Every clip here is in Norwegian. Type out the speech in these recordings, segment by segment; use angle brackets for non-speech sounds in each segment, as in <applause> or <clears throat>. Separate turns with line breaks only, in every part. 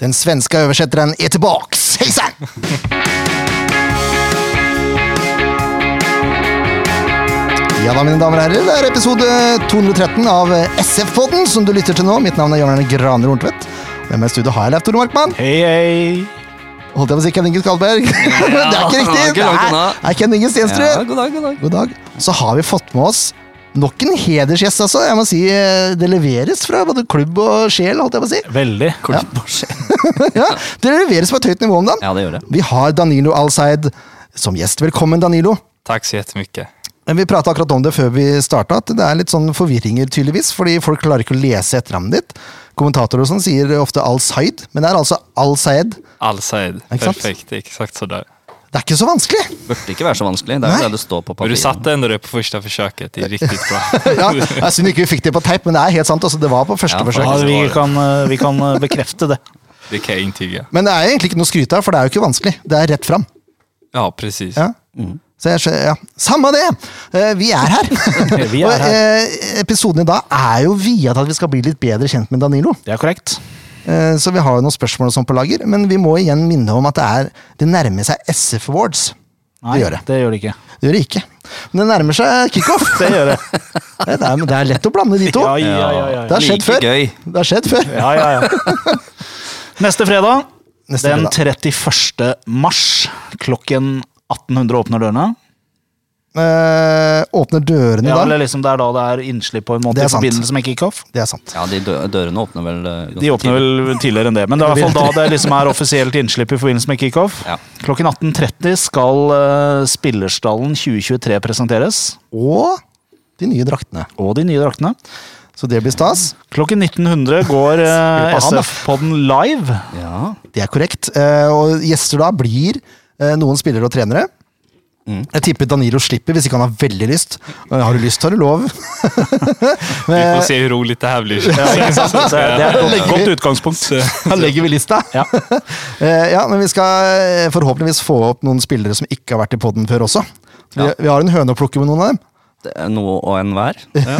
Den svenska översättaren är tillbaks. Hejsan! Ja da, mine damer og herrer, det er episode 213 av SF-podden som du lytter til nå. Mitt navn er Jan Erne Graner Horntvedt. Hvem er i studio har jeg, Leif Tore Markmann?
Hei, hei!
Holdt jeg på å si Ken Inge <laughs> Skalberg? det er ikke riktig!
ikke
Det
langt
er,
unna.
det er Ken Inge Stenstrud.
Ja, god dag, god dag.
God dag. Så har vi fått med oss nok en hedersgjest, altså. Jeg må si eh, Det leveres fra både klubb og sjel, holdt jeg på å si. <laughs>
Veldig.
Ja.
ja, det leveres på et høyt nivå om dagen.
ja, det gjør det.
Vi har Danilo Alseid som gjest. Velkommen, Danilo.
Takk så jettemykke.
Men Vi prata akkurat om det før vi starta, at det er litt sånn forvirringer, tydeligvis. Fordi folk klarer ikke å lese etternavnet ditt. Kommentatorer og sånn sier ofte Al-Said, men det er altså Al-Said.
Allside.
Ikke sant?
Perfekt. Exakt sådär.
Det er ikke så vanskelig!
Burde ikke være så vanskelig. Det er
Nei.
jo det det står på
Men du
papiret.
satte ändå det på första försöket. Det är riktigt bra.
<laughs> Ja, det er Synd ikke vi fikk det på teip, men det er helt sant. altså Det var på første
Ja,
forsøk.
faktisk.
Ja, vi kan, eh, vi kan eh, bekrefte det.
Det kan jag intyga.
Men det er egentlig ikke noe å skryte av, for det er jo ikke vanskelig. Det er rett fram.
Ja, precis.
Ja. Så jeg, skjø- ja. Samme det! Eh, Vi er her.
<laughs> Vi er
Og, eh, episoden i dag er jo via til at vi skal bli litt bedre kjent med Danilo.
Det er korrekt.
Eh, Så vi har jo noen spørsmål og sånn på lager, men vi må igjen minne om at det, er, det nærmer seg SF Awards.
Nei,
det gjør det.
Det gjør det ikke.
Det gjør det ikke. Men det nærmer seg
<laughs>
kickoff.
Det gjør det.
det, er, men det er lett å blande de to.
Ja, ja, ja, ja.
Det har skjedd
Like
før.
gøy.
Det har skjedd før.
ja, ja,
<laughs>
ja. Neste fredag,
Neste
den
fredag.
31. mars, klokken 1800 åpner dørene.
Eh, åpner dørene
Ja,
i dag.
eller liksom Det er da det er innslipp på en
Det
måte
er
i
sant.
forbindelse med kickoff.
Det er sant.
Ja, de dø dørene åpner vel eh, ganske
De åpner vel tidligere enn det, men det er i
<laughs>
hvert fall da det liksom er offisielt innslipp i forbindelse med kickoff.
Ja.
Klokken 18.30 skal eh, Spillerstallen 2023 presenteres,
Og de nye draktene.
og de nye draktene.
Så det blir stas.
Klokken 1900 <laughs> går eh,
Spiller på han, da.
SF-podden live.
tidlig. Ja.
Det er korrekt. Eh, og gjester da blir eh, noen spillere og trenere.
Mm.
Jeg tipper Danilo slipper hvis ikke han har veldig lyst. Eh, har du lyst, har du
<laughs>
lov. eh,
Vi får
<laughs>
se hur roligt det här blir.
<laughs> Så det er et godt, godt utgangspunkt.
Da legger vi lista.
Ja.
<laughs> Eh, ja, men vi skal eh, forhåpentligvis få opp noen spillere som ikke har vært i poden før også. Vi,
Ja.
vi har en høne å plukke med noen av dem,
Det er noe og enhver. Ja.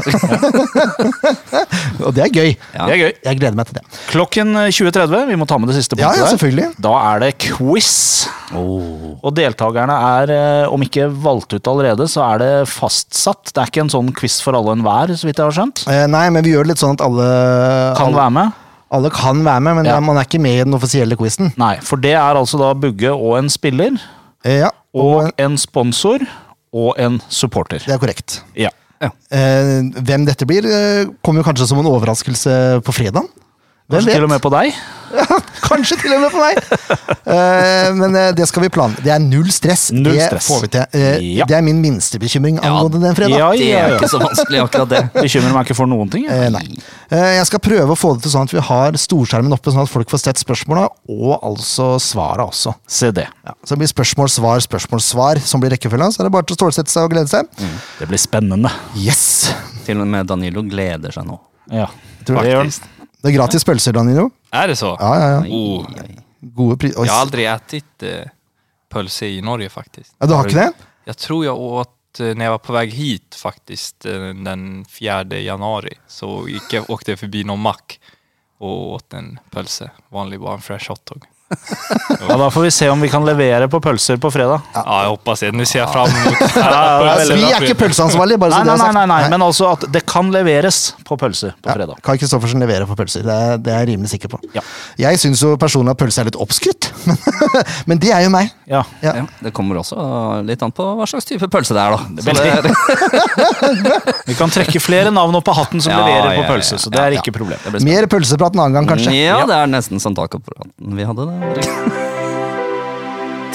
og det er gøy.
Ja.
Det er gøy.
Jeg gleder meg til det.
Klokken 20.30, vi må ta med det siste
Ja,
punktet
ja,
der.
selvfølgelig.
Da er det quiz.
Oh.
Og deltakerne er, eh, om ikke valgt ut allerede, så er det fastsatt. Det er ikke en sånn quiz for alle og enhver, så vidt jeg har skjønt.
Eh, nei, men vi gjør det litt sånn at alle
Kan
alle,
være med.
alle kan være med, men
Ja.
man er ikke med i den offisielle quizen.
Nei, for det er altså da Bugge og en spiller,
Eh, ja,
og en sponsor, og en supporter.
det er korrekt.
Ja.
Eh, hvem dette blir, eh, kommer jo kanskje som en overraskelse på fredag.
Kanskje til og med på deg.
<laughs> Kanskje til og med på meg! Eh, men eh, det skal vi planlegge. Det er null stress.
Null
det
stress.
får vi til. Eh,
Ja.
Det er min minste bekymring angående den fredag.
Ja,
Det
ja,
er
ja.
ikke så vanskelig, akkurat det.
Bekymrer meg ikke for noen ting. jeg.
Eh, nei. Eh, jeg skal prøve å få det til sånn at vi har storskjermen oppe, sånn at folk får sett spørsmåla, og altså svara også.
Se det.
Så det blir spørsmål, svar, spørsmål, svar som blir rekkefølga. Så er det bare til å stålsette seg og glede seg.
Det blir spennende.
Yes!
Til og med Danilo gleder seg nå.
Ja.
Tror
det gjør den.
Faktiskt.
Det er gratis pølser, Danilo.
Är det så?
Ja, ja, ja.
Oh.
Gode pri... Oi.
Jag har
Ja,
aldrig ätit eh, pölse i Norge faktiskt.
du har ikke det?
Jag tror jag åt eh, när jag var på väg hit faktiskt eh, den 4 januari så gick jag, åkte jag förbi någon mack och åt en pölse, vanlig bara en fresh hotdog.
Ja, Da får vi se om vi kan levere på pølser på fredag.
Ja, jag hoppas det. Nu ser jag fram emot
Vi er ikke pølseansvarlige, bare
Nei,
så Altså, det
nei,
er sagt.
nei, nei, nei, men altså at det kan leveres på pølser på fredag.
Kai Kristoffersen leverer på pølser, det er, det er jeg rimelig sikker på.
Ja.
Jeg syns jo personlig at pølse er litt oppskrytt, <laughs> men, men det er jo meg.
Ja.
Ja.
Ja, det kommer også litt an på hva slags type pølse det er, da. Så det
Veldig.
er,
Vi kan trekke flere navn opp av hatten som
Ja,
leverer på
ja, ja,
pølse,
ja.
så det er
Ja,
ikke problem.
det blir spennende.
Mer pølseprat en annen gang, kanskje.
Ja, det er nesten sånn som tacopraten vi hadde. Det. <laughs>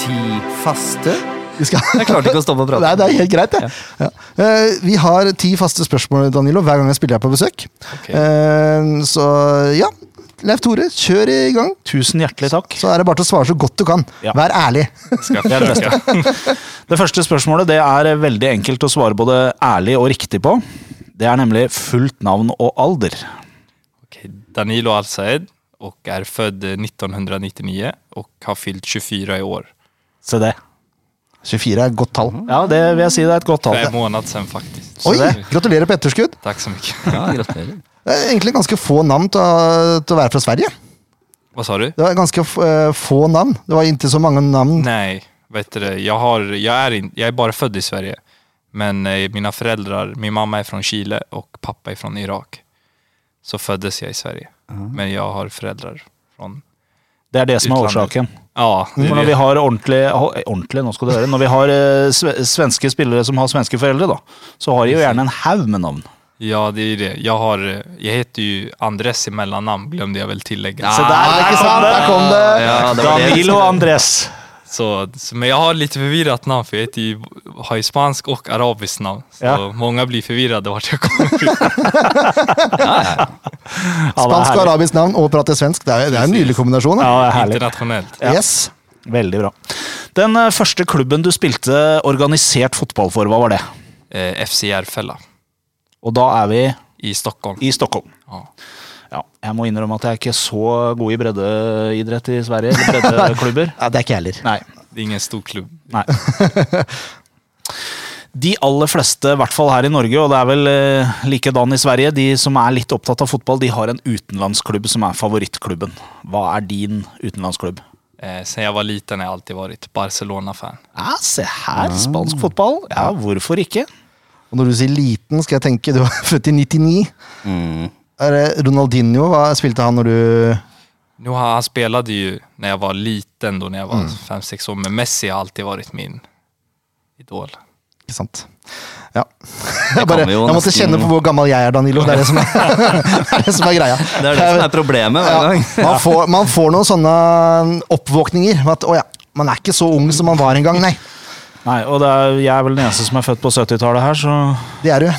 Ti faste
Vi skal...
Jeg klarte ikke å stoppe å prate.
Nei, det er helt greit, det. Ja. Eh, vi har ti faste spørsmål Danilo, hver gang jeg spiller her på besøk.
Ok.
Eh, så ja, Leif Tore, kjør i gang.
Tusen hjertelig takk.
Så er det bare til å svare så godt du kan.
Ja.
Vær ærlig.
Ska
Det er det
försöka.
beste. Det første spørsmålet det er veldig enkelt å svare både ærlig og riktig på. Det er nemlig fullt navn og alder.
<laughs> Okej, Danilo Al-Saed och är född 1999 och har fyllt 24 i år.
Se det.
24 er et godt tall.
Ja, det vil jeg si det er et godt
För
tall.
en månad sedan faktiskt.
Oi,
Mhm. det.
gratulerer på etterskudd.
Tack så mycket.
Ja, gratulerer.
Det er egentlig ganske få navn til å, til å være fra Sverige.
Vad sa du?
Det var ganska f- eh, få namn. Det var inte så mange namn.
Nej, vet du det, jag, har, jag, är in, jag är bara född i Sverige. Men eh, mina föräldrar, min mamma är från Chile och pappa är från Irak. Så föddes jag i Sverige. Men jag har föräldrar från...
Det er det som er
Utlandet.
årsaken.
Ja, det
For når
vet-
vi har ordentlig, ho- eh, ordentlig nå skal du høre, når vi har eh, sve, svenske spillere som har svenske foreldre, da, så har de jo gjerne en haug med navn.
ja, det är ju det. Jag, har, eh, jag heter ju Andres i mellannamn, glömde jeg vel tillägga.
Så der, ikke sant? Der kom det!
Ja, det var det.
Danilo Andres.
Så, så, men jag har lite förvirrat namn, för jag heter ju, har ju spansk och arabiskt namn. Så
Ja.
många blir förvirrade vart jag kommer.
Ja, det er
Spansk og
herlig.
arabisk navn og prate svensk. Det er, det er en nydelig kombinasjon.
Ja,
Da.
det er herlig.
Internationellt.
Yes.
Veldig bra. Den eh, første klubben du spilte organisert fotball for, hva var det?
Eh, FC Järfälla
Og da er vi
i Stockholm.
i Stockholm.
Ja.
Ja, jeg må innrømme at jeg er ikke så god i breddeidrett i Sverige. Eller breddeklubber.
Ja, det er ikke jeg heller.
Nei.
Det är ingen stor klubb.
Nei. De aller fleste, i hvert fall her i Norge, og det er vel eh, likedan i Sverige, de som er litt opptatt av fotball, de har en utenlandsklubb som er favorittklubben. Hva er din utenlandsklubb?
Eh, sen jag var liten har jag alltid varit Barcelona-fan.
Ja, se her, spansk fotball. Ja, hvorfor ikke?
Og når du sier liten, skal jeg tenke du var født i 99.
Mm.
Er det Ronaldinho, hva spilte han når du
Nu har, han spelade ju när jag var liten, då när jag var fem sex år, men Messi har alltid varit min idol.
Ikke sant. Ja. Jeg, <laughs> bare,
kan vi jo
jeg måtte
nesten-
kjenne på hvor gammel jeg er, Danilo. Det er det som er, <laughs> det er, det som er greia.
Det er det som er problemet hver gang.
Ja, <laughs> man, får, man får noen sånne um, oppvåkninger. med At, å ja, man er ikke så ung som man var en gang. Nei,
Nei, og det er, jeg er vel den eneste som er født på 70-tallet her, så
det er du.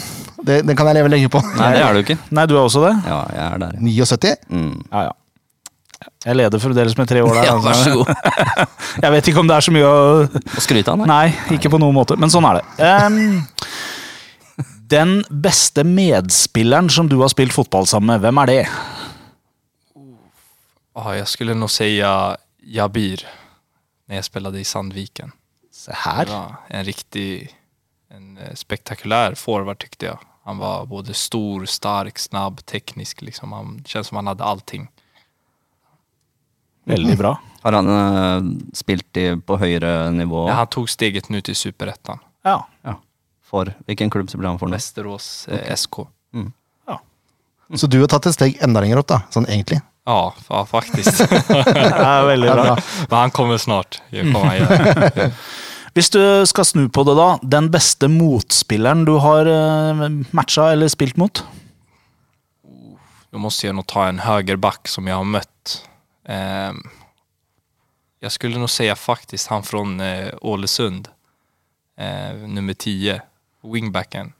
Det, den kan jeg leve lenge på. <laughs>
Nei, det er du ikke.
Nei, du er også det?
Ja, jeg er der.
79?
Mm.
Ja, ja. Jeg leder fremdeles med tre år der.
Ja,
altså.
vær så god.
Jeg vet ikke om det er så mye å
Å skryte av, nei.
Nei, ikke på noen måte, men sånn er det. Ehm, den beste medspilleren som du har spilt fotball sammen med, hvem er det?
Ja, jag skulle nog säga Jabir, när jag spelade i Sandviken.
Se her.
Ja, en riktig en eh, spektakulär forward tyckte jag. Han var både stor, stark, snabb, teknisk. Liksom. Han känns som han hade allting.
Veldig bra.
Har han eh, spilt i, på høyere nivå?
Ja, han tog steget nu till superettan.
Ja.
Ja. For hvilken klubb så blir han for nå?
Västerås eh, SK.
Så du har tatt et steg enda lenger opp, da. Sånn egentlig.
Ja, ja faktiskt.
<laughs> Det er veldig bra.
Men han kommer snart. Det kommer han
Mm.
göra.
Hvis du skal snu på det, da. Den beste motspilleren du har eh, matcha eller spilt mot?
Då måste jag nog ta en högerback som jag har mött. Ehm, jag skulle nog säga faktiskt han från eh, Ålesund. Eh, nummer 10, wingbacken.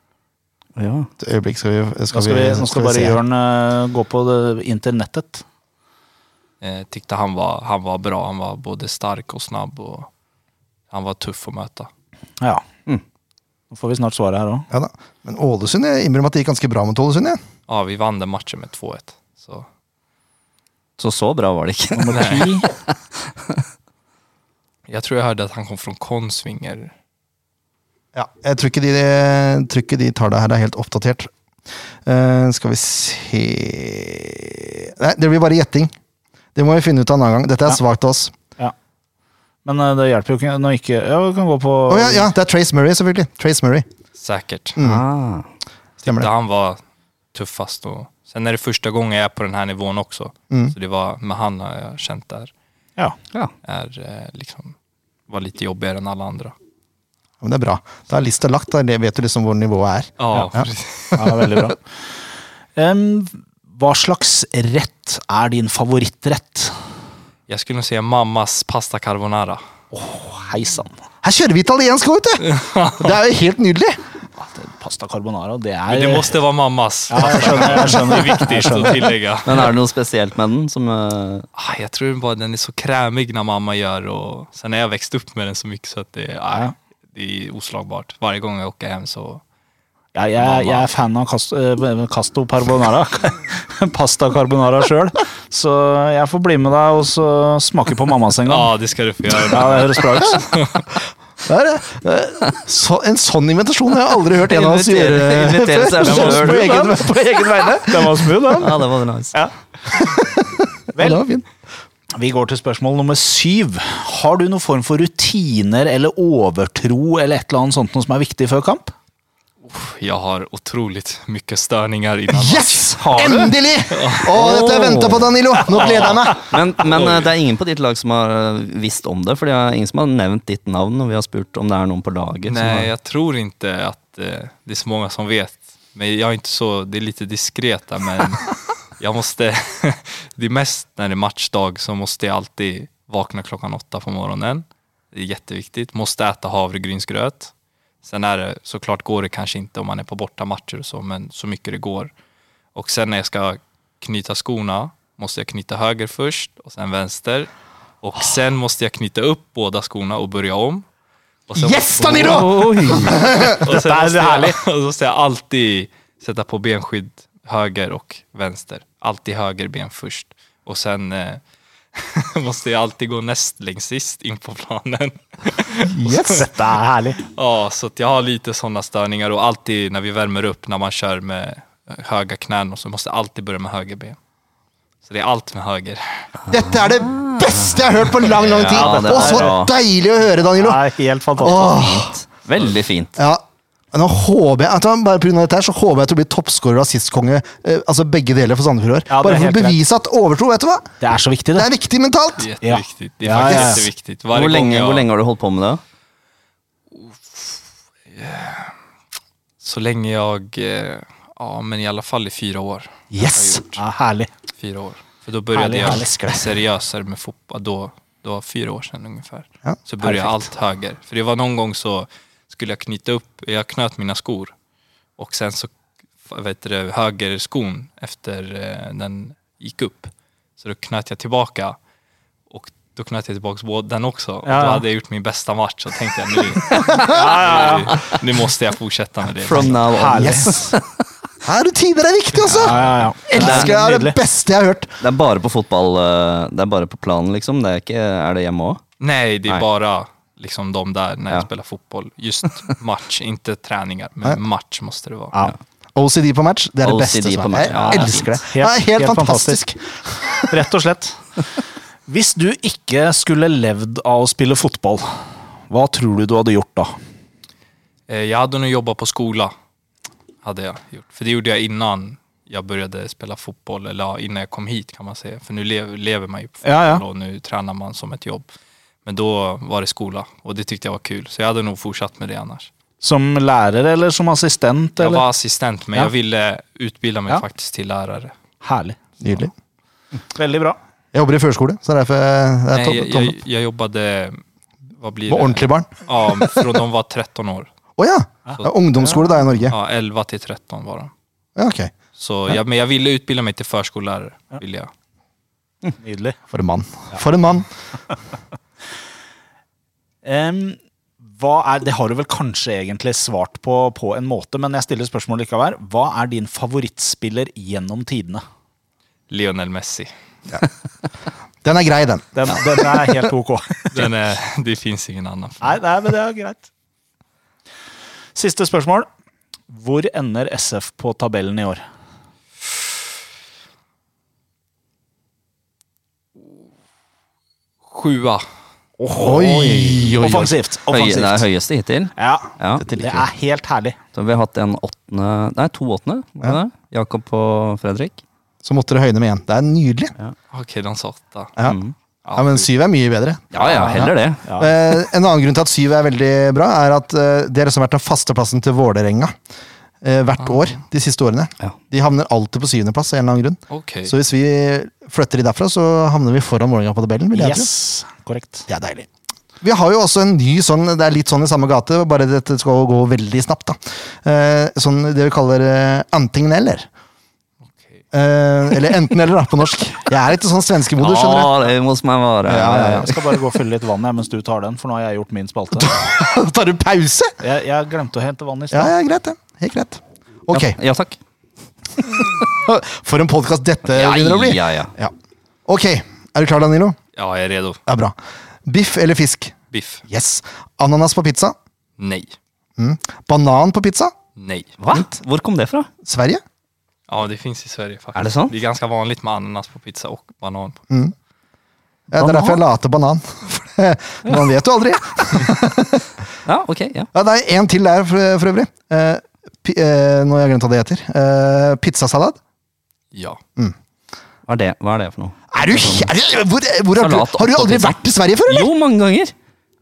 Ja.
Et øyeblikk skal vi,
Nå
skal
skal,
vi,
vi, nå skal bare
se her.
Jørn eh, gå på det, internettet.
Eh, tyckte han var, han var bra. Han var både stark og snabb. Og han var tuff å møte.
Ja.
Mm.
Nå får vi snart svaret her <laughs> òg.
Ja, da. Men Ålesund, jeg innrømmer at det gikk ganske bra mot Ålesund. jeg.
Ja, vi vant den matchen med 2-1. Så
Så så bra var det ikke.
jag tror jag hörde att han kom från Konsvinger.
Ja, jeg tror ikke de, jeg tror ikke de tallene her er helt oppdatert. Eh, skal vi se Nei, det blir bare gjetting. Det må vi finne ut av en annen gang. Dette er svakt av oss.
Men eh, det hjelper jo ikke når ikke Ja, vi kan gå på
Å ja, ja, det er Trace Murray, selvfølgelig. Trace Murray. Mm,
Säkert.
Ah.
Stemmer
Där
det.
han var tuffast. Och sen är det första gången jag är på den här nivån också.
Mm.
Så det var med han har jag känt där.
Ja.
Ja.
Är, eh, liksom, var lite jobbigare än alla andra.
Ja, Men det er bra. Da er lista lagt. Da vet du liksom hvor nivået er.
Ja,
Ja.
precis.
Ja, det er veldig bra. <laughs> Em, hva slags rett er din favorittrett?
Jag skulle nog säga mammas pasta carbonara.
Hei sann.
Her kjører vi italiensk òg, vet du!
<laughs>
Det er jo helt nydelig!
Ja, det- Pasta carbonara, det er
Men det måste vara mammas.
Ja, <laughs> jeg skjønner. Jeg
Det är
skjønner.
viktigt att tillägga.
Men er det noe spesielt med den som eh,
Ah, jag tror bara den är så krämig när mamma gör och sen har jag växt upp med den så mycket så att det, ah, det är oslagbart. Varje gång jeg åker hem så
Ja, jeg, jeg er fan av casto, eh, casto carbonara. <laughs> Pasta carbonara sjøl. Så jeg får bli med deg og så smake på mammas en
Ja,
gang.
det ska du få göra.
Ja, det høres bra ut. <laughs>
Det er, eh, så, en sånn invitasjon har jeg aldri hørt en av oss
Invitere-
gjøre
invitere <laughs> seg
før.
selv.
På
<laughs>
egen, på egen vegne.
Den var smooth, den.
Ja, det var nice.
Ja, det var fint.
Vi går til spørsmål nummer syv. Har du noen form for rutiner eller overtro eller et eller annet sånt noe som er viktig før kamp?
Jag har otroligt mycket störningar innan
Yes!
match. Har du?
Endelig! Å, dette har jeg venta på, Danilo! Nå gleder jeg meg!
Men, men eh, det er ingen på ditt lag som har eh, visst om det, for det er ingen som har nevnt ditt navn når vi har spurt om det er noen på laget.
Nej,
som har...
jag tror inte att eh, det är så många som vet. Men jag är inte så, det är lite diskret där,
<laughs>
men jag måste, <laughs> det är mest när det är matchdag så måste jag alltid vakna klockan åtta på morgonen. Det är jätteviktigt. Måste äta havregrynsgröt. Sen är det, såklart går det kanske inte om man är på bortamatcher och så, men så mycket det går. Och sen när jag ska knyta skorna måste jag knyta höger först och sen vänster. Och sen måste jag knyta upp båda skorna och börja om. Och sen
Yes, Danilo!
och sen
Där är
måste
det
<laughs> jag,
härligt.
och så måste jag alltid sätta på benskydd höger och vänster. Alltid höger ben först. Och sen eh, <laughs> måste jag alltid gå näst längst sist in på planen.
Dette er herlig.
ja, så att jag har lite sådana störningar och alltid när vi värmer upp när man kör med höga knän och så måste jag alltid börja med höger ben. Så det är allt med höger.
Dette er det beste jeg har hørt på lang, lang tid!
Ja, det er
og så
bra.
deilig å høre, Danilo!
helt fantastisk.
Åh,
Veldig fint.
ja. Nå håper jeg, vet du hva, bare på grunn av dette her, så håper jeg at du blir toppskårer og assistkonge. Eh, altså begge deler for Sandefjord i år.
Ja, det er
bare for å
helt greit.
bevise at overtro, vet du hva?
Det er så viktig,
Det
det.
er viktig mentalt!
Jätteviktigt. Det är
Ja,
faktiskt
ja, ja.
jätteviktigt. Varje
Hvor
gång
lenge,
jag-
hvor lenge har du holdt på med det?
Så länge jag, eh, ja men i alla fall i fyra år.
Yes! Ja, herlig.
Fyra år. För då började
Härlig,
jag
härlig skratt.
seriösare med fotboll. Då, det var fyra år sedan ungefär.
Ja,
så började jag
perfekt.
allt höger. För det var någon gång så skulle jag knyta upp, jag knöt mina skor. Och sen så, vet du, högerskon efter eh, den gick upp. Så då knöt jag tillbaka. Och då knöt jag tillbaka både- den också.
Ja.
Då hade jag gjort min bästa match och tänkte jag nu,
<laughs>
nu, nu måste jeg fortsette med det.
From now on.
Herlig.
Yes! Her rutiner er viktig, altså!
Ja, ja, ja.
Elsker det! Det er det
Nydelig.
beste jeg har hørt.
Det er bare på fotball, eh, det er bare på planen, liksom. Det er, ikke, er det hjemme òg?
Nej, det är
Nej.
bara liksom de där när
Ja.
jag spelar fotboll. Just <laughs> match, inte träningar, men match måste det vara.
Ja.
OCD på match, det er det
OCD
beste som
på
er.
match, ja, det
Jeg
er
elsker det.
fint.
Det er
Helt-
helt
helt
fantastisk.
Rett og slett. Hvis du ikke skulle levd av å spille fotball, hva tror du du hadde gjort da?
Eh, Jag hade nog jobbat på skola, hade jag gjort. För det gjorde jag innan jag började spela fotboll, eller ja, innan jag kom hit kan man säga. För nu lever, lever man ju på fotboll
Ja, ja.
och nu tränar man som ett jobb. Men då var det skola och det tyckte jag var kul. Så jag hade nog fortsatt med det annars.
Som lærer eller som assistent?
Jag
Eller?
var assistent, men
Ja.
jag ville utbilda mig
Ja.
faktiskt till lärare.
Herlig.
Nydelig.
Veldig bra.
Jeg jobber i førskole, så derfor det er
Nej, jag,
topp-
jag,
tommel opp.
jag jobbade, vad blir
Med
det?
ordentlige barn.
Ja, från de var 13 år.
Å ja! Det er Ungdomsskole da i Norge.
Ja, 11 till 13 var de.
Ja, ok.
Så jag, men jag ville utbilda mig till förskollärare. Ville jag.
Nydelig.
For en mann. For en mann.
Em, hva er, det har du vel kanskje egentlig svart på på en måte, men jeg stiller spørsmål likevel. Hva er din favorittspiller gjennom tidene?
Lionel Messi.
Den er grei, den.
Den, den er helt ok.
Den är, eh, det finns ingen annan.
<laughs> Nei, nei, men det er greit. Siste spørsmål. Hvor ender SF på tabellen i år?
Sjua.
Oi, oi, oi.
Offensivt.
Høye, det er
offensivt.
høyeste hittil.
Ja,
Ja.
Dette
det
liker vi.
er helt herlig.
Så vi har hatt en åttende Nei, to åttende. var det det? Jakob og Fredrik.
Så måtte det høyne med én. Det er nydelig.
Okej, de sa åtta.
Ja. ja, Men syv er mye bedre.
Ja ja, heller det.
Ja.
Eh, en annen grunn til at syv er veldig bra, er at eh, det har liksom vært den faste plassen til Vålerenga eh, hvert år de siste årene.
Ja.
De havner alltid på syvendeplass av en eller annen grunn.
Okej.
Så hvis vi flytter de derfra, så havner vi foran Vålerenga på tabellen. vil jeg tro.
Yes, korrekt.
Det er deilig. Vi har jo også en ny sånn, det er litt sånn i samme gate, bare dette skal gå veldig snapt. da. Eh, sånn det vi kaller eh, enten-eller.
Okej.
Eh, eller enten-eller, da, på norsk. Jeg er litt sånn svenskemodus, skjønner
Ja, det må som jeg være.
Ja, ja,
Jeg skal bare gå og fylle litt vann jeg, mens du tar den, for nå har jeg gjort min spalte.
du. Tar du pause?
Jeg, jeg glemte å hente vann i
Ah. Ja,
stad.
ja, greit, det. Helt greit. Ok,
Ja, ja takk.
for en podkast dette Eh, begynner å bli.
ja, ja.
Ja. Ok, er du klar, Danilo?
Ja, jag är redo.
Det er bra. Biff eller fisk?
Biff.
Yes. Ananas på pizza?
Nej.
Mm. Banan på pizza?
Nej.
Hva? Hvor kom det fra?
Sverige?
Ja, det finns i Sverige faktiskt.
Är det sant?
Det är ganska vanligt med ananas på pizza och banan. På.
Ja, det er derfor jeg la til banan. <laughs> For det- Man vet jo aldri.
Ja, ok, ja.
Ja, det er en til der, for, for øvrig. Eh, pi, eh, nå har jeg glemt hva det heter. Eh, pizzasalat.
Ja.
Hva er det, hva er det for noe?
Er du, kjæ- er du hvor, hvor har, du,
Salat
har du
oppå
aldri
pizza.
vært i Sverige før, eller?
<laughs> Jo, mange ganger.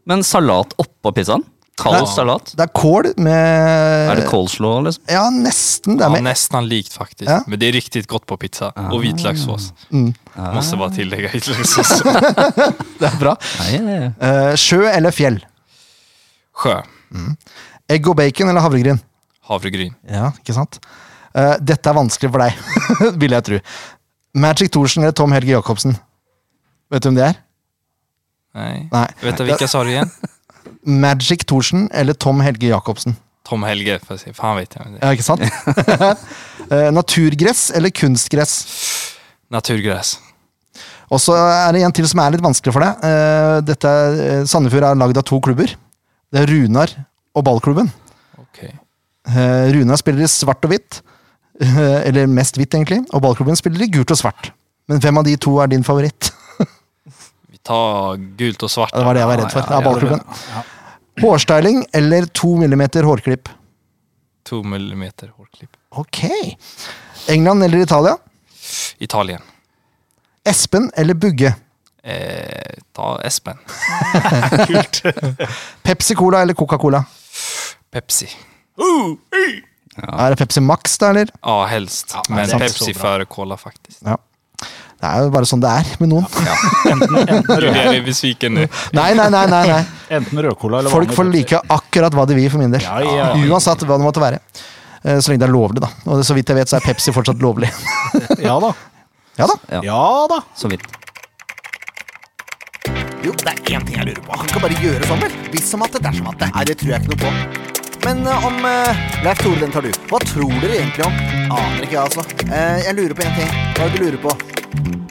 Men salat oppå pizzaen? Kald
Nei.
salat?
Det er kål med
Er det coleslaw, liksom?
Ja, nesten. Det
ja
er med
nästan likt faktiskt.
Ja.
Men det är riktigt gott på pizza. Och vitlökssås. Måste bara tillägga vitlökssås. <laughs>
Det er bra.
Nei, det er
Eh, sjø eller fjell?
Sjö.
Egg og bacon eller havregryn?
Havregryn.
Ja, ikke sant? Eh, dette er vanskelig for deg, <laughs> vil jeg tro. Magic Thorsen eller Tom Helge Jacobsen? Vet du hvem det er?
Nej.
Nei.
Vet du vilka sa du igen?
Magic Thorsen eller Tom Helge Jacobsen?
Tom Helge. Får jag se. Fan vet jag.
Ja, ikke
<laughs>
sant? Eh, naturgress eller kunstgress?
Naturgräs.
Og så er det en til som er litt vanskelig for deg. Eh, dette er, eh, Sandefjord er lagd av to klubber. Det er Runar og ballklubben.
Okej.
Eh, Runar spiller i svart og hvitt. Eh, eller mest hvitt, egentlig. Og ballklubben spiller i gult og svart. Men hvem av de to er din favoritt? <laughs>
Vi tar gult och svart.
Ja, Det var det jeg var redd for.
Ja,
Det er ballklubben. Hårstyling eller to millimeter hårklipp?
Två millimeter hårklipp.
Ok. England eller Italia?
Italien.
Espen eller Bugge?
Eh, ta Espen.
Pepsi Cola eller Coca-Cola?
Pepsi.
Er det Pepsi Max, da, eller?
Ja, helst. Men
sant.
Pepsi före Cola faktiskt.
Ja. Det er jo bare sånn det er med noen.
Du är besviken nu.
Nei, nei, nei. nei, nei.
Enten rødcola eller
Folk
vanlig
får
Pepsi.
like akkurat hva de vil, for min del.
Ja, ja, ja.
Uansett hva det måtte være. Eh, Så lenge det er lovlig, da. Og så vidt jeg vet, så er Pepsi fortsatt lovlig. <laughs>
Ja da.
Ja da.
Ja.
Ja da.
så vidt.
Jo, det er én ting jeg lurer på. Han kan bare gjøre sånn, vel? Hvis som at det dersom at det. Nei, det tror jeg ikke noe på. Men eh, om uh, Leif Tore, den tar du. Hva tror dere egentlig om? Aner ikke, jeg, altså. Eh, jeg lurer på én ting. Hva er det du lurer på?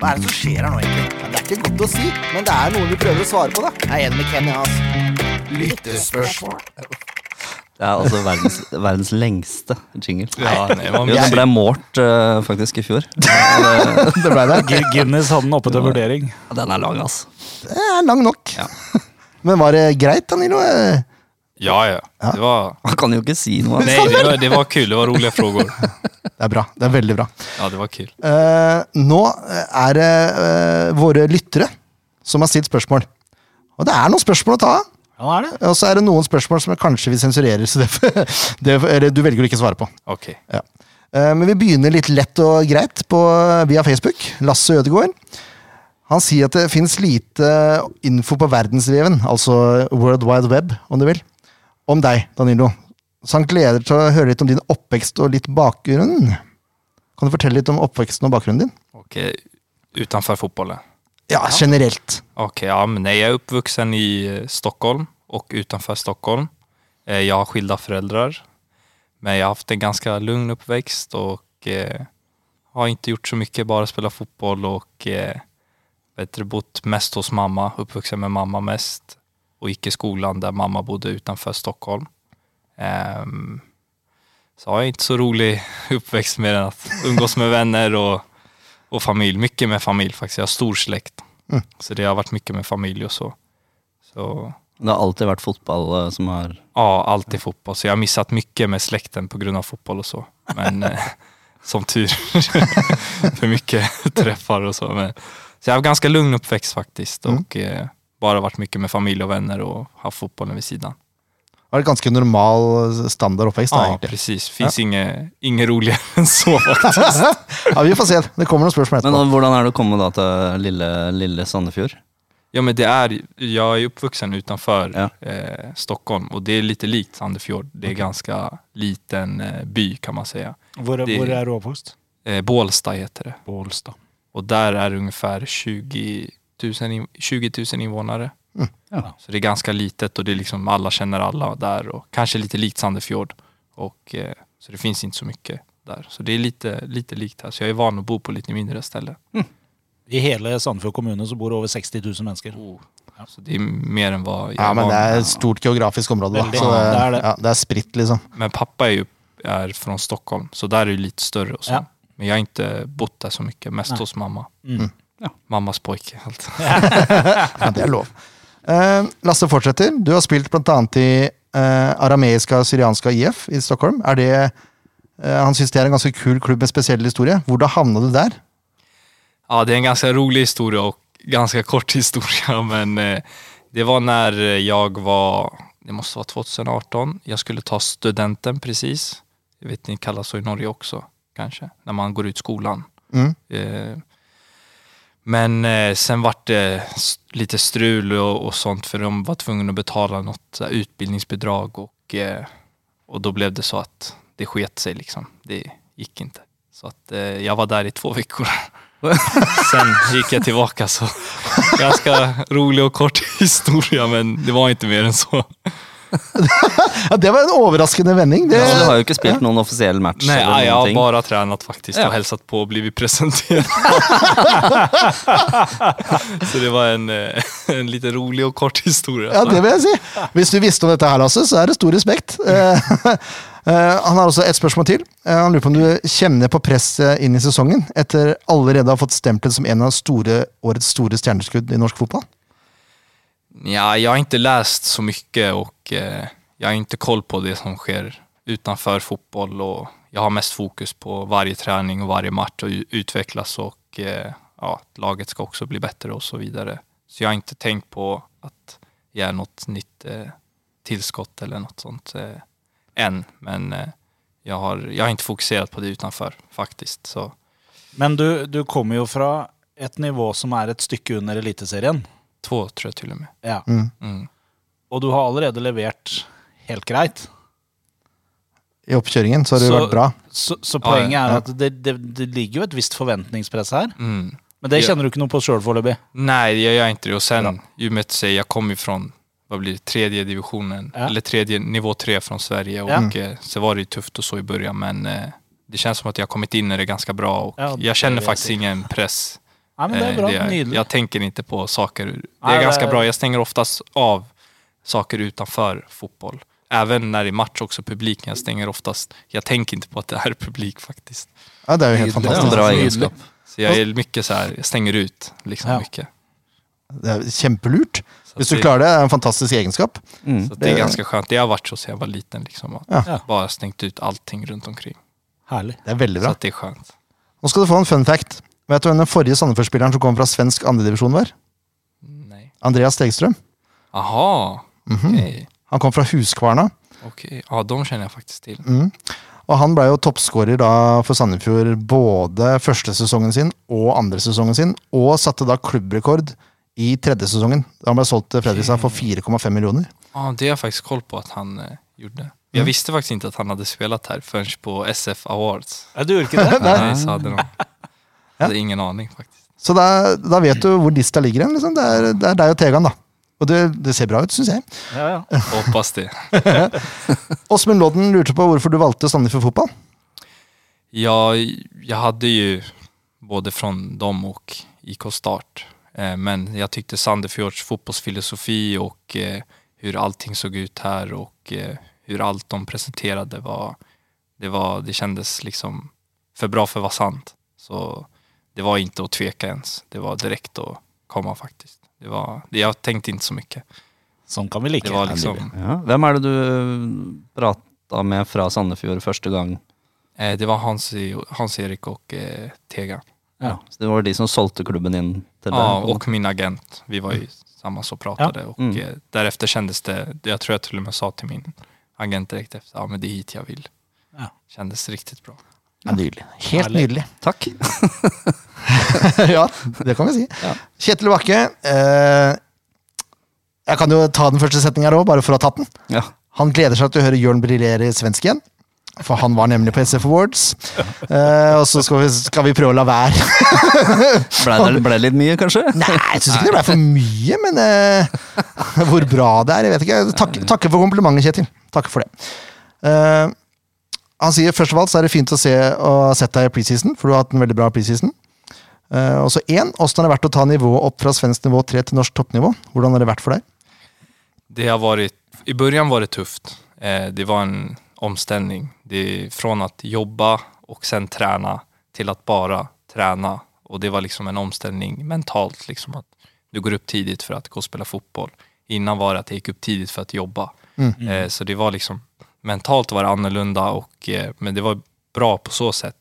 Hva er det som skjer her nå, egentlig? Ja, det er ikke godt å si, men det er noen vi prøver å svare på, da. Jeg er enig med Kenny, altså. Lyttespørsmål.
Det er altså verdens, <laughs> verdens lengste jingle.
<laughs> Ja, nej, man
Jo, den ble målt eh, faktisk i fjor. Ja, det-
<laughs> Det ble det.
Gu- Guinness hadde den oppe til vurdering.
Den er lang, altså.
Det Eh, er lang nok.
Ja.
<laughs> Men var det greit, Danilo? Eh,
Ja, ja. Det var...
Man kan jo ikke si noe.
Nej, det var, det var kul. Det var roliga frågor.
Det er bra. Det er veldig bra.
Ja, det var kul.
Eh, nå er det eh, våre lyttere som har stilt spørsmål. Og det er noen spørsmål å ta av.
Ja, det er det.
Og så er det noen spørsmål som jeg kanskje vi sensurerer, så det, <laughs> det, eller du velger å ikke svare på.
Okej.
Ja. Eh, Men vi begynner litt lett og greit på, via Facebook. Lasse Ødegaard. Han sier at det fins lite info på verdensveven, altså World Wide Web, om du vil, om deg, Danilo. Så han gleder til å høre litt om din oppvekst og litt bakgrunn. Kan du fortelle litt om oppveksten og bakgrunnen din?
Okej, utanför fotbollen?
Ja, generelt.
Okej, ja, men nej, jag är uppvuxen i eh, Stockholm och utanför Stockholm. Eh, Jag har skilda föräldrar, men jag har haft en ganska lugn uppväxt och eh, har inte gjort så mycket, bara spelat fotboll och eh, vet du, bott mest hos mamma, uppvuxen med mamma mest och gick i skolan där mamma bodde utanför Stockholm. Ehm, så har jag inte så rolig <laughs> uppväxt mer än att umgås med vänner och, och familj. Mycket med familj faktiskt, jag har stor släkt. Så det har varit mycket med familj och så. Så
Det har alltid vært fotball eh, som har
ja, alltid fotboll. Så jag har missat mycket med släkten på grund av fotboll och så. Men eh, som tur <laughs> för mycket träffar och så. Men, så jag har haft ganska lugn uppväxt faktiskt och eh, bara varit mycket med familj och vänner och haft fotbollen vid sidan.
Var det ganske normal eh, standard oppvekst?
Ja,
Da, egentlig.
precis. Finns inget, inget <laughs> roligare än så faktiskt.
ja, vi får se. Det kommer noen spørsmål
Men
etterpå.
eh, hvordan er det å komme da til lille, lille Sandefjord?
Ja, men det är, jag är uppvuxen utanför
Ja.
eh, Stockholm och det är lite likt Sandefjord. Det är ganska liten eh, by kan man säga.
Hvor,
Det-
hvor er du oppvokst?
Eh, Bålsta heter det.
På Olstad.
Och där är det ungefär 20 000, in- 20 000 invånare.
Ja.
Så det är ganska litet och det är liksom alla känner alla där och kanske lite likt Sandefjord. Och, eh, så det finns inte så mycket där. Så det är lite, lite likt här. Så jag är van att bo på lite mindre ställen.
I hele Sandefjord kommune så bor det over 60 000 mennesker.
Oh.
Så det är mer än vad jag
Ja,
är
men
van
det er et stort geografisk område. Da.
Veldig.
Så det,
Ja, det er det.
ja, det er spritt, liksom.
Men pappa är ju är från Stockholm så där är det lite större och så.
Ja.
Men jag har inte bott där så mycket, mest
Nej.
Mm.
hos mamma. Mammas pojke. Alt.
Ja, det er lov. Eh, Lasse fortsetter. Du har spilt bl.a. i eh, arameiska og syrianska IF i Stockholm. Er det, eh, han syns det er en ganske kul klubb med spesiell historie. Hvordan havna du der?
Ja, det är en ganska rolig historia och ganska kort <laughs> historia, men eh, det var när jag var, det måste vara 2018, jag skulle ta studenten precis. Jag vet ni kallas så i Norge också, kanske, när man går ut skolan.
Mm.
Eh, Men eh, sen vart det s- lite strul och, och sånt för de var tvungna att betala något så här utbildningsbidrag och, eh, och då blev det så att det sket sig liksom. Det gick inte. Så att eh, jag var där i två veckor. Sen gick jag tillbaka så ganska rolig och kort historia men det var inte mer än så.
Ja, det var en overraskende vending. Det,
Ja, Altså, du har jo ikke spilt noen offisiell match.
Nej,
eller
jag
noen
har
ting.
bara tränat faktiskt och hälsat på och blivit
<laughs>
presenterad. så det var en, eh, <laughs> en lite rolig och kort historia.
ja, det vil jeg si. Hvis du visste om dette her, Lasse, så er det stor respekt. Eh, <laughs> eh, han har også et spørsmål til. Eh, han lurer på om du kjenner på presset inn i sesongen etter allerede å ha fått stemplet som en av store, årets store stjerneskudd i norsk fotball?
Ja, jag har inte läst så mycket och eh, jag har inte koll på det som sker utanför fotboll och jag har mest fokus på varje träning och varje match och u- utvecklas och eh, ja, att laget ska också bli bättre och så vidare. Så jag har inte tänkt på att jag är något nytt eh, tillskott eller något sånt eh, än, men eh, jag, har, jag har inte fokuserat på det utanför faktiskt. Så.
Men du, du kommer jo fra et nivå som er et stykke under Eliteserien.
Två tror jag till och med.
Ja.
Mm.
Og du har allerede levert helt greit.
I oppkjøringen så har det
Så-
vært bra.
Så, så
Ja, ja,
poenget er at det, det, det ligger jo et visst forventningspress her.
Mm.
Men det
Ja.
kjenner du ikke noe på sjøl foreløpig.
Nej, jag gör inte det. Och sen, i och med att säga, jag kommer ju från vad blir det, tredje divisionen,
Ja.
eller tredje, nivå tre från Sverige. Och eh, så var det ju tufft och så i början, men eh, det känns som att jag har kommit in i det ganska bra. Och
Ja, det
jag känner
vill jag
faktiskt
se.
ingen press.
Nei, men det
Eh,
er bra.
det är-
Nydelig.
jag tänker inte på saker. Det
Nej,
är
det-
ganska bra. Jag stänger oftast av saker utanför fotboll. Även när det är match också, publiken. Jag stänger oftast. Jag tänker inte på att det är publik faktiskt.
Ja, det er jo helt
Det er
fantastisk.
en bra
altså Nydelig.
egenskap.
Så jag är mycket så här, jag stänger ut liksom
Ja.
mycket.
Det er kjempelurt.
Så
Hvis du
det-
klarer det, er det en fantastisk egenskap.
Så det är ganska skönt. Det har varit så sedan jag var liten. Liksom, att
Ja.
Ja.
Bara stängt ut allting runt omkring.
Herlig.
Det er veldig
Så
bra.
att det är skönt.
Nå skal du få en fun fact. Vet du hvem den forrige Sandefjord-spilleren som kom fra svensk andredivisjon var?
Nej.
Andreas Stegstrøm.
Aha, okej.
Han kom fra Huskvarna,
Okej. Ja, de känner jag faktiskt till.
og han ble jo toppskårer da for Sandefjord både første sesongen sin og andre sesongen sin, og satte da klubbrekord i tredje sesongen. Da han ble solgt til Fredrikstad for 4,5 millioner.
Ja, det har jag faktiskt koll på att han eh, gjorde. Jag visste faktiskt inte att han hade spelat här förrän på SF Awards.
Ja, du gjorde ikke det?
<laughs> Nej, så hade de. Jag hade ingen aning faktiskt.
Så da, da vet du hvor lista ligger hen. Liksom. Det, er- det er deg og Tegan, da. Og det, det ser bra ut, syns jeg.
Ja, ja.
Jag hoppas det.
Åsmund Lodden lurte på hvorfor du valgte Sandefjord fotball.
Ja, jag hade ju både från dem och IK Start. Eh, Men jag tyckte Sandefjords fotbollsfilosofi och eh, hur allting såg ut här och eh, hur allt de presenterade var det, var, det kändes liksom för bra för att vara sant. Så det var inte att tveka ens. Det var direkt att komma faktiskt. Det var, det- jag tänkte inte så mycket.
Sånn kan vi like.
Det var liksom,
Ja. Hvem er det du prata med fra Sandefjord første gang?
eh, det var Hans, Hans-Erik og eh, Tegan.
Ja.
Så det var de som solgte klubben inn til deg?
Ja, och min agent. Vi var ju samma som pratade och
Mm.
eh, därefter kändes det, jag tror jag till och med sa till min agent direkt efter, ja men det är hit jag vill.
Ja.
Kändes riktigt bra.
nydelig. Helt
Herlig.
nydelig.
Takk.
<laughs> ja, det kan vi si. Kjetil Bakke. Eh, jeg kan jo ta den første setninga òg, bare for å ha tatt den.
<laughs> Ja.
Han gleder seg til å høre Jørn briljere i svensk igjen. For han var nemlig på SF <laughs> Awards. Eh, og så skal vi, skal vi prøve å la være.
Ble det ble det litt mye, kanskje?
Nei, jeg syns ikke det ble for mye, men eh, hvor bra det er, jeg vet ikke. Takk, takker for komplimentet, Kjetil. Takker for det. Eh, han sier først av alt så er det fint å se og ha sett deg i preseason, for du har hatt en veldig bra preseason. Eh, og så én, åssen har det vært å ta nivået opp fra svensk nivå 3 til norsk toppnivå? Hvordan har det vært for deg?
Det har varit, i början var det tufft. Eh, det var en omställning. Det, är från att jobba och sen träna till att bara träna Och det var liksom en omställning mentalt, liksom att du går upp tidigt för att gå och spela fotboll. Innan var det att jag gick upp tidigt för att jobba. Eh, så det var liksom, mentalt var det annorlunda, och, eh, men det var bra på så sätt.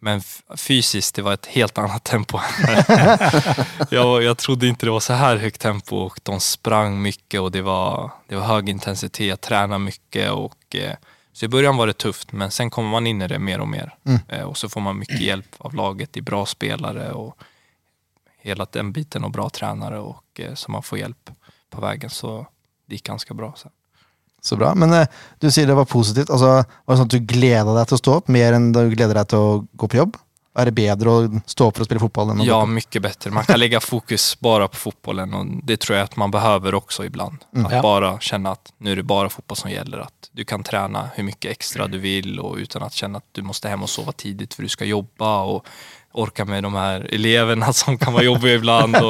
Men f- fysiskt, det var ett helt annat tempo. <laughs> jag, jag trodde inte det var så här högt tempo och de sprang mycket och det var, det var hög intensitet, träna mycket. Och, eh, så i början var det tufft, men sen kommer man in i det mer och mer. Eh, och så får man mycket hjälp av laget i bra spelare och hela den biten och bra tränare och eh, så man får hjälp på vägen. Så det gick ganska bra sen.
Så bra. Men eh, du sier det var positivt. Altså, var det sånn at du gleda deg til å stå opp mer enn du gleder deg til å gå på jobb? Er det bedre å stå opp for å spille fotball enn å
Ja,
gå på
mycket bättre. Man kan lägga fokus bara på fotbollen och det tror jag att man behöver också ibland.
Mm.
Att
Ja.
bara känna att nu är det bara fotboll som gäller. Att du kan träna hur mycket extra du vill och utan att känna att du måste hem och sova tidigt för du ska jobba och orka med de här eleverna <laughs> som kan vara jobbiga
<laughs>
ibland. Och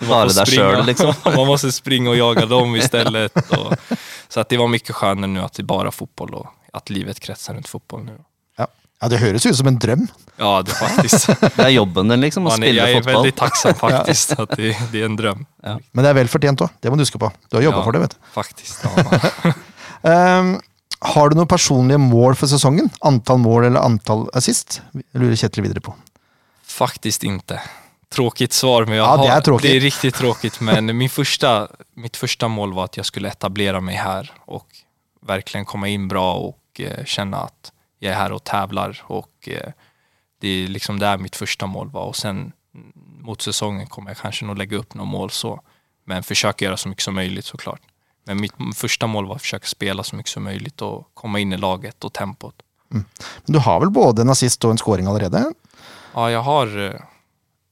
man
Vara
får
där
springa.
själv, liksom.
<laughs> man måste springa och jaga dem istället. Och, så att det var mycket skönare nu att det är bara fotboll och att livet kretsar runt fotboll nu.
ja. ja, det høres ut som en drøm.
Ja, det är faktiskt.
<laughs> Det er jobben din, liksom, å
Man, är-
spille
jag är
fotball.
väldigt tacksam
<laughs>
faktiskt att det, det är en drøm.
Men det er vel fortjent òg. Det må du huske på. Du har jobba
Ja.
for det, vet du.
Faktiskt. Ja.
Ehm, har du noen personlige mål for sesongen? Antall mål eller antall assist? Lurer Kjetil videre på.
Faktiskt inte. Tråkigt svar, men jag
Ja,
har,
det är tråkigt.
det är riktigt tråkigt. Men min första, mitt första mål var att jag skulle etablera mig här och verkligen komma in bra och eh, känna att jag är här och tävlar. Och, eh, det är liksom där mitt första mål var. Och sen mm, mot säsongen kommer jag kanske nog lägga upp några mål så. Men försöka göra så mycket som möjligt såklart. Men mitt första mål var att försöka spela så mycket som möjligt och komma in i laget och tempot.
Men du har vel både en assist och en scoring allerede?
Ja, jag har... eh,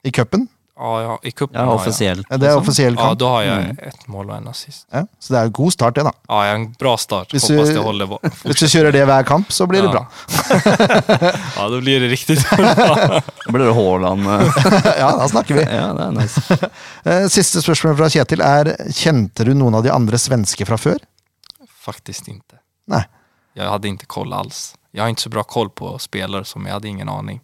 I cupen?
Ja, jag, i cupen
Ja,
har jag.
offisielt.
Ja, Det er
liksom.
offisiell
Ja,
kamp. Mm.
då har jag ett mål och en assist.
Ja, så det er en god start, det, da.
Ja, jag har en bra start.
Hvis
Hoppas
du-
det håller. va-
Hvis du kjører det hver kamp, så blir det
Ja.
bra. <laughs>
Ja, då blir det riktigt.
Da blir det
<laughs>
Haaland. eh.
ja, da snakker vi.
<laughs>
Ja, det er nice.
Eh, Siste spørsmål fra Kjetil er Kjente du noen av de andre svenske fra før?
Faktiskt inte.
Nei.
Jag hade inte koll alls. Jag har inte så bra koll på spelare som jag hade ingen aning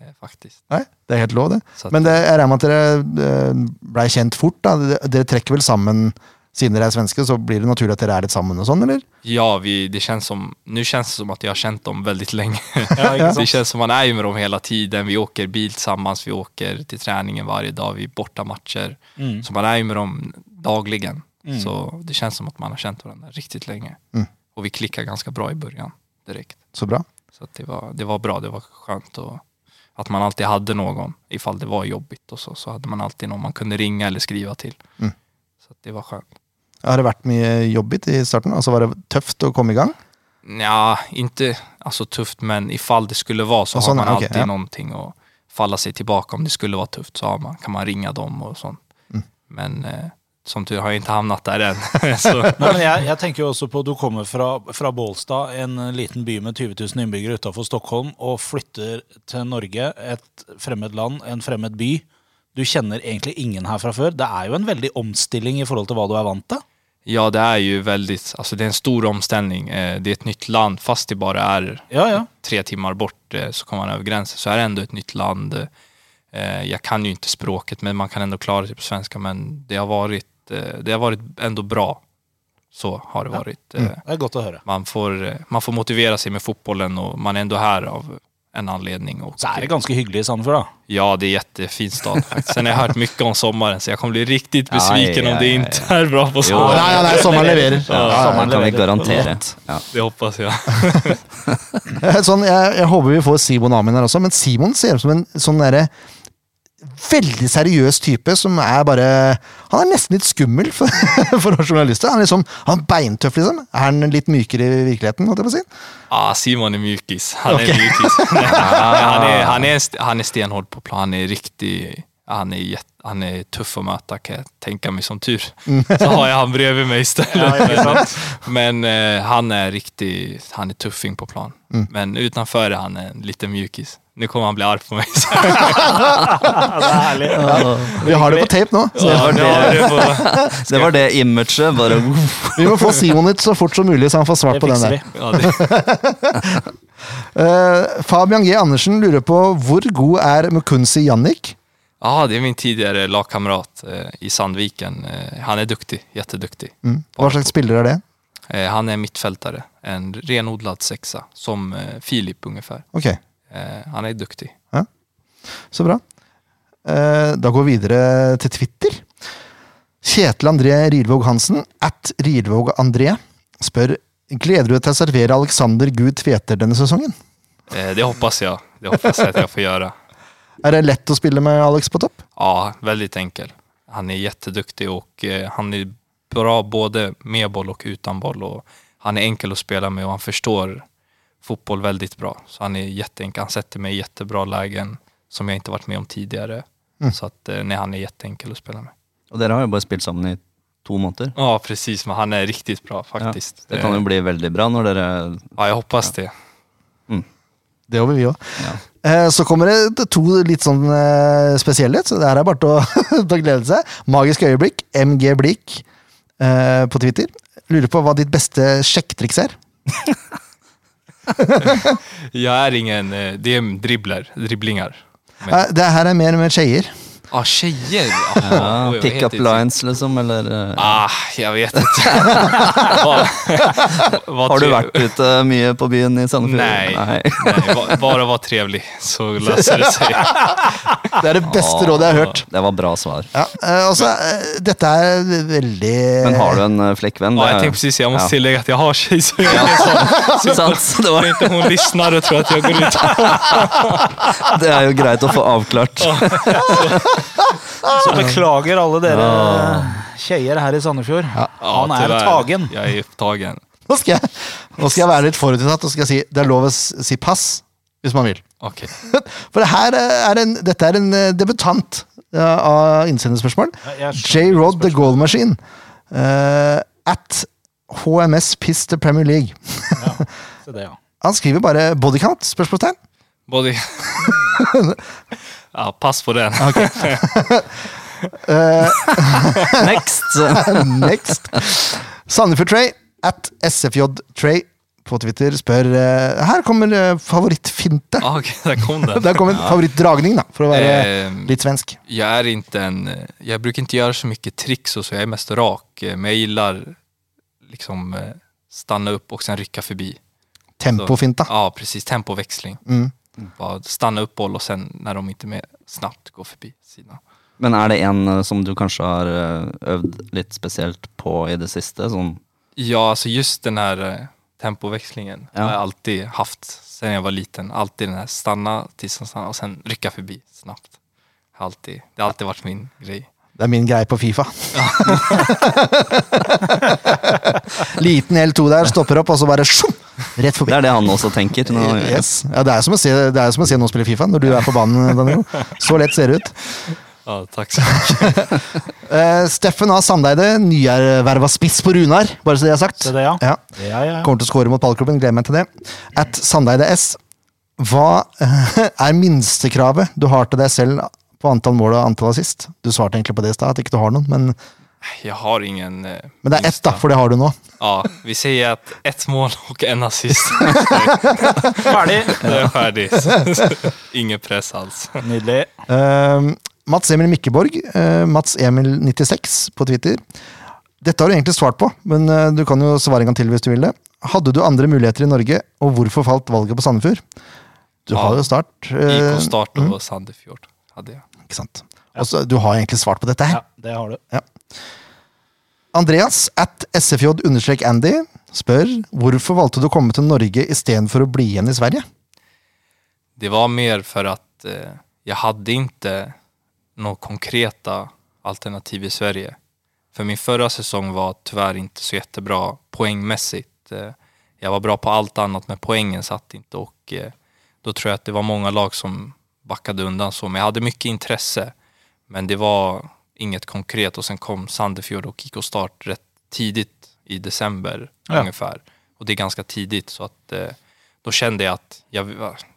eh, faktiskt.
Nei, Det er helt lov, det.
Så at-
Men det, jeg regner med at dere blei kjent fort. da. Dere- Dere trekker vel sammen siden dere er svenske, så blir det naturlig at dere er litt sammen og sånn, eller?
Ja, vi, det känns som, nu känns det som att jag har känt dem väldigt länge.
Ja.
<laughs> det känns som man är ju med dem hela tiden. Vi åker bil tillsammans, vi åker till träningen varje dag, vi är borta matcher.
Mm.
Mm.
Så man är ju med dem dagligen. Så det känns som att man har känt varandra riktigt länge.
Mm.
Och vi klickar ganska bra i början direkt.
Så bra.
Så att det, var, det var bra, det var skönt. Och att man alltid hade någon, ifall det var jobbigt och så, så hade man alltid någon man kunde ringa eller skriva till.
Mm.
Så att det var skönt.
Har det vært mye jobbigt i starten? Altså Var det tøft å komme i gang?
Ja, inte alltså tufft, men ifall det skulle vara så
Och
har
sådana,
man
okej,
alltid
ja.
någonting att falla sig tillbaka om det skulle vara tufft. Så har man, kan man ringa dem och sånt.
Mm.
Men eh, som tur har jag inte hamnat där än. <laughs> så,
Nei, men jeg, jeg tenker jo også på Du kommer fra, fra Bålstad, en liten by med 20 000 innbyggere utafor Stockholm, og flytter til Norge, et fremmed land, en fremmed by. Du kjenner egentlig ingen her fra før. Det er jo en veldig omstilling i forhold til hva du er vant til.
ja, det är ju väldigt, alltså det är en stor omställning. Eh, det är ett nytt land, fast det bara är
Ja, ja.
tre timmar bort eh, så kommer man över gränsen. Så är det ändå ett nytt land. Eh, Jag kan ju inte språket, men man kan ändå klara sig på svenska. Men det har varit, eh, det har varit ändå bra. Så har det varit.
Mm.
Eh,
Det er godt å høre.
Man, får, eh, man får motivera sig med fotbollen och man är ändå här av en anledning. Och, eh,
Så er det ganske hyggelig i Sandefjord, da.
ja, det är jättefin stad faktiskt. Sen har jag hört mycket om sommaren, så jag kommer bli riktigt besviken
Aj,
om det
aj,
inte är bra på
Nei,
sommaren.
nei, nei, sommeren leverer. Ja, ja,
Det kan vi garantere. Ja.
Det hoppas jeg.
ja. <laughs> Sånn, jeg, jeg håper vi får Simon Amin her også, men Simon ser ut som en sånn derre Veldig seriøs type som er bare Han er nesten litt skummel for, <laughs> for oss journalister. Han er liksom, han er beintøff, liksom. Er han litt mykere i virkeligheten? Holdt jeg på å si?
Ah, Simon är mjukis. Han är mjukis. Nej, han, är, han, är, st- han är stenhård på plan. Han är riktig... Han är, jätt, han är tuff att möta kan jag tänka mig som tur. Så har jag han bredvid mig istället. men eh, han är riktig... Han är tuffing på plan. Men utanför är han en liten mjukis. Nu kommer han bli arg på <laughs> mig. Så
Vi har det på tape nå. Så
ja, nu har du på,
Det var det imaget. Bare
vi må få Simon ut så fort som mulig, så han får svart
Det
på den
fikser
der.
vi.
ja, det,
Eh, Fabian G. Andersen lurer på hvor god er Mukunzi Jannik?
Ja, Ah, det är min tidigare lagkamrat eh, i Sandviken. Eh, han är duktig, jätteduktig.
Mm. Hva slags spiller er det?
Eh, han är mittfältare, en renodlad sexa, som eh, Filip ungefär.
Ok,
Eh, han är duktig.
så bra. Eh, da går vi videre til Twitter. Kjetil André Rilvåg Hansen, at Rilvåg André, spør Gleder du deg til å servere Alexander Gud Tveter denne sesongen?
Eh, det hoppas jag. Det hoppas jag att jag får göra.
Er det lett å spille med Alex på topp?
Ja, väldigt enkel. Han är jätteduktig och eh, han är bra både med boll och utan boll. Och han är enkel att spela med och han förstår fotboll väldigt bra. Så han är jätteenkel. Han sätter mig i jättebra lägen som jag inte varit med om tidigare.
Mm.
Så att, eh, nej, han är jätteenkel att spela med.
Og dere har jo bare spilt sammen i to måneder.
Ja, precis. Men han är riktigt bra
Ja,
faktiskt.
det kan jo
Eh,
bli veldig bra når dere
ja, jag hoppas det.
Det håper vi òg. Så kommer det to litt sånn eh, spesielle, så det her er bare til å, <laughs> til å glede seg. Magisk øyeblikk, MG Blikk eh, på Twitter. Lurer på hva ditt beste sjekketriks er.
Jag är ingen, eh, det är dribbler, dribblingar. Men-
Eh, Det her er mer med tjejer.
Ja, ah, tjejer! Ah,
ja,
oj, jag
Pick
vet
up
inte.
lines, liksom, eller eh,
Ah, jag
<laughs>
vet inte. Vad- vad
Har du
tre-
vært ute mye på byen i Sandefjord?
Nej, nej ba- bara var trevlig så löser
<laughs>
det sig.
Det er det beste rådet jeg har hørt.
Det var bra svar.
Ja, eh, også, eh, dette er veldig
Men har du en eh, flekkvenn?
Ja,
Det
jag
er-
tänkte precis, jag måste
Ja.
tillägga att jag har tjej så jag är så,
<laughs>
Ikke sant? Så Det,
om
var,
inte hon lyssnar och tror att jag går ut.
<laughs> det er jo greit å få avklart.
Så beklager alle dere eh, tjejer her i Sandefjord. Han er
tyvärr.
tagen.
Jag är upptagen.
nå, skal jeg, nå skal jeg være litt forutinntatt og skal jeg si det er lov å s- si pass hvis man vil.
Okej.
For det her er en, dette er en eh, debutant eh, av innsenderspørsmål.
Ja, jeg skjønner
J-Rod The Goal Machine. eh, at HMS Piss the Premier League.
Så det, ja.
Han skriver bare bodycount? spørsmålstegn. <laughs>
Både...
<laughs>
Ja, pass på den.
<laughs> Next!
Next. Sandefjord Tray at SFJ Tray på Twitter spør eh, Her kommer eh, favorittfinte.
Ah, Okej, där
<laughs>
kom den.
Der kom en favorittdragning, da, for å være
Ehm,
litt svensk.
Jag är inte en, jag brukar inte göra så mycket tricks och så, jag är mest rak. eh, Men jag gillar liksom eh, stanna upp och sen rycka förbi.
Tempofinta.
Ja, precis, tempoväxling.
Ah. Mm.
Bara stanna upp boll och sen när de inte är med snabbt gå förbi sidan.
Men er det en eh, som du kanskje har eh, øvd litt spesielt på i det siste? Sånn,
Ja, alltså just den här eh, tempoväxlingen har jag alltid haft sen jeg var liten. Alltid den här stanna tills den stannar och sen rycka förbi snabbt. Har Alltid. Det har alltid varit min grej.
Det er min greie på Fifa. <laughs> Liten L2 der, stopper opp, og så bare sjum, rett
det
forbi.
er det han også tenker. Nå,
Yes. Ja, det, er som å se, det er som å se noen spille Fifa når du er på banen. Daniel. Så lett ser det ut.
Ja, tack så mycket.
Eh, Steffen A. Sandeide, nyerverva spiss på Runar, bare så det er sagt.
Så det, ja.
Ja.
Ja, ja, ja.
Kommer til å skåre mot ballklubben, gleder meg til det. At Sandeide S. Hva <laughs> er minstekravet du har til deg selv på antall mål og antall assist? Du svarte egentlig på det i stad, at ikke du har noen, men,
<laughs> Jag har ingen... eh,
men det er ett,
minsta-
da, for det har du nå.
Ja, vi säger att ett mål och en assist
Ferdig.
är färdigt. <laughs> Ingen press alls.
Nydelig.
Ehm, Mats Emil Mikkeborg, eh, Mats Emil 96 på Twitter. Dette har du egentlig svart på, men eh, du kan jo svare en gang til hvis du vil det. Hadde du andre muligheter i Norge, og hvorfor falt valget på Sandefjord? Du
Ja.
har jo start. eh,
IK Start och Sandefjord hade jag.
ikke sant? Også, du har egentlig svart på dette her.
Ja, det har du.
Andreas at sfj-andy spør hvorfor valgte du å komme til Norge istedenfor å bli igjen i Sverige?
Det var mer för att eh, jag hade inte några konkreta alternativ i Sverige. För min förra säsong var tyvärr inte så jättebra poängmässigt. Eh, jag var bra på allt annat men poängen satt inte och eh, då tror jag att det var många lag som backade undan så. Men jag hade mycket intresse men det var inget konkret och sen kom Sandefjord och IK Start rätt tidigt i december
Ja.
ungefär. Och det är ganska tidigt så att eh, då kände jag att jag,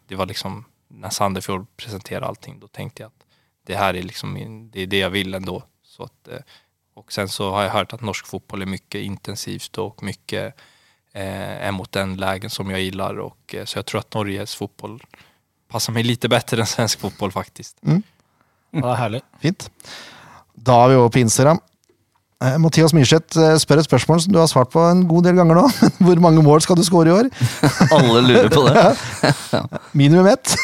det var liksom när Sandefjord presenterade allting då tänkte jag att det här är liksom min, det, är det jag vill ändå. Så att, eh, och sen så har jag hört att norsk fotboll är mycket intensivt och mycket eh, är mot den lägen som jag gillar. Och, eh, så jag tror att Norges fotboll passar mig lite bättre än svensk fotboll faktiskt.
Det er herlig.
Fint. Da er vi over på Instagram. Eh, Mathias Myrseth eh, spør et spørsmål som du har svart på en god del ganger nå. <laughs> Hvor mange mål skal du score i år?
<laughs> Alle lurer på det.
Minimum ett?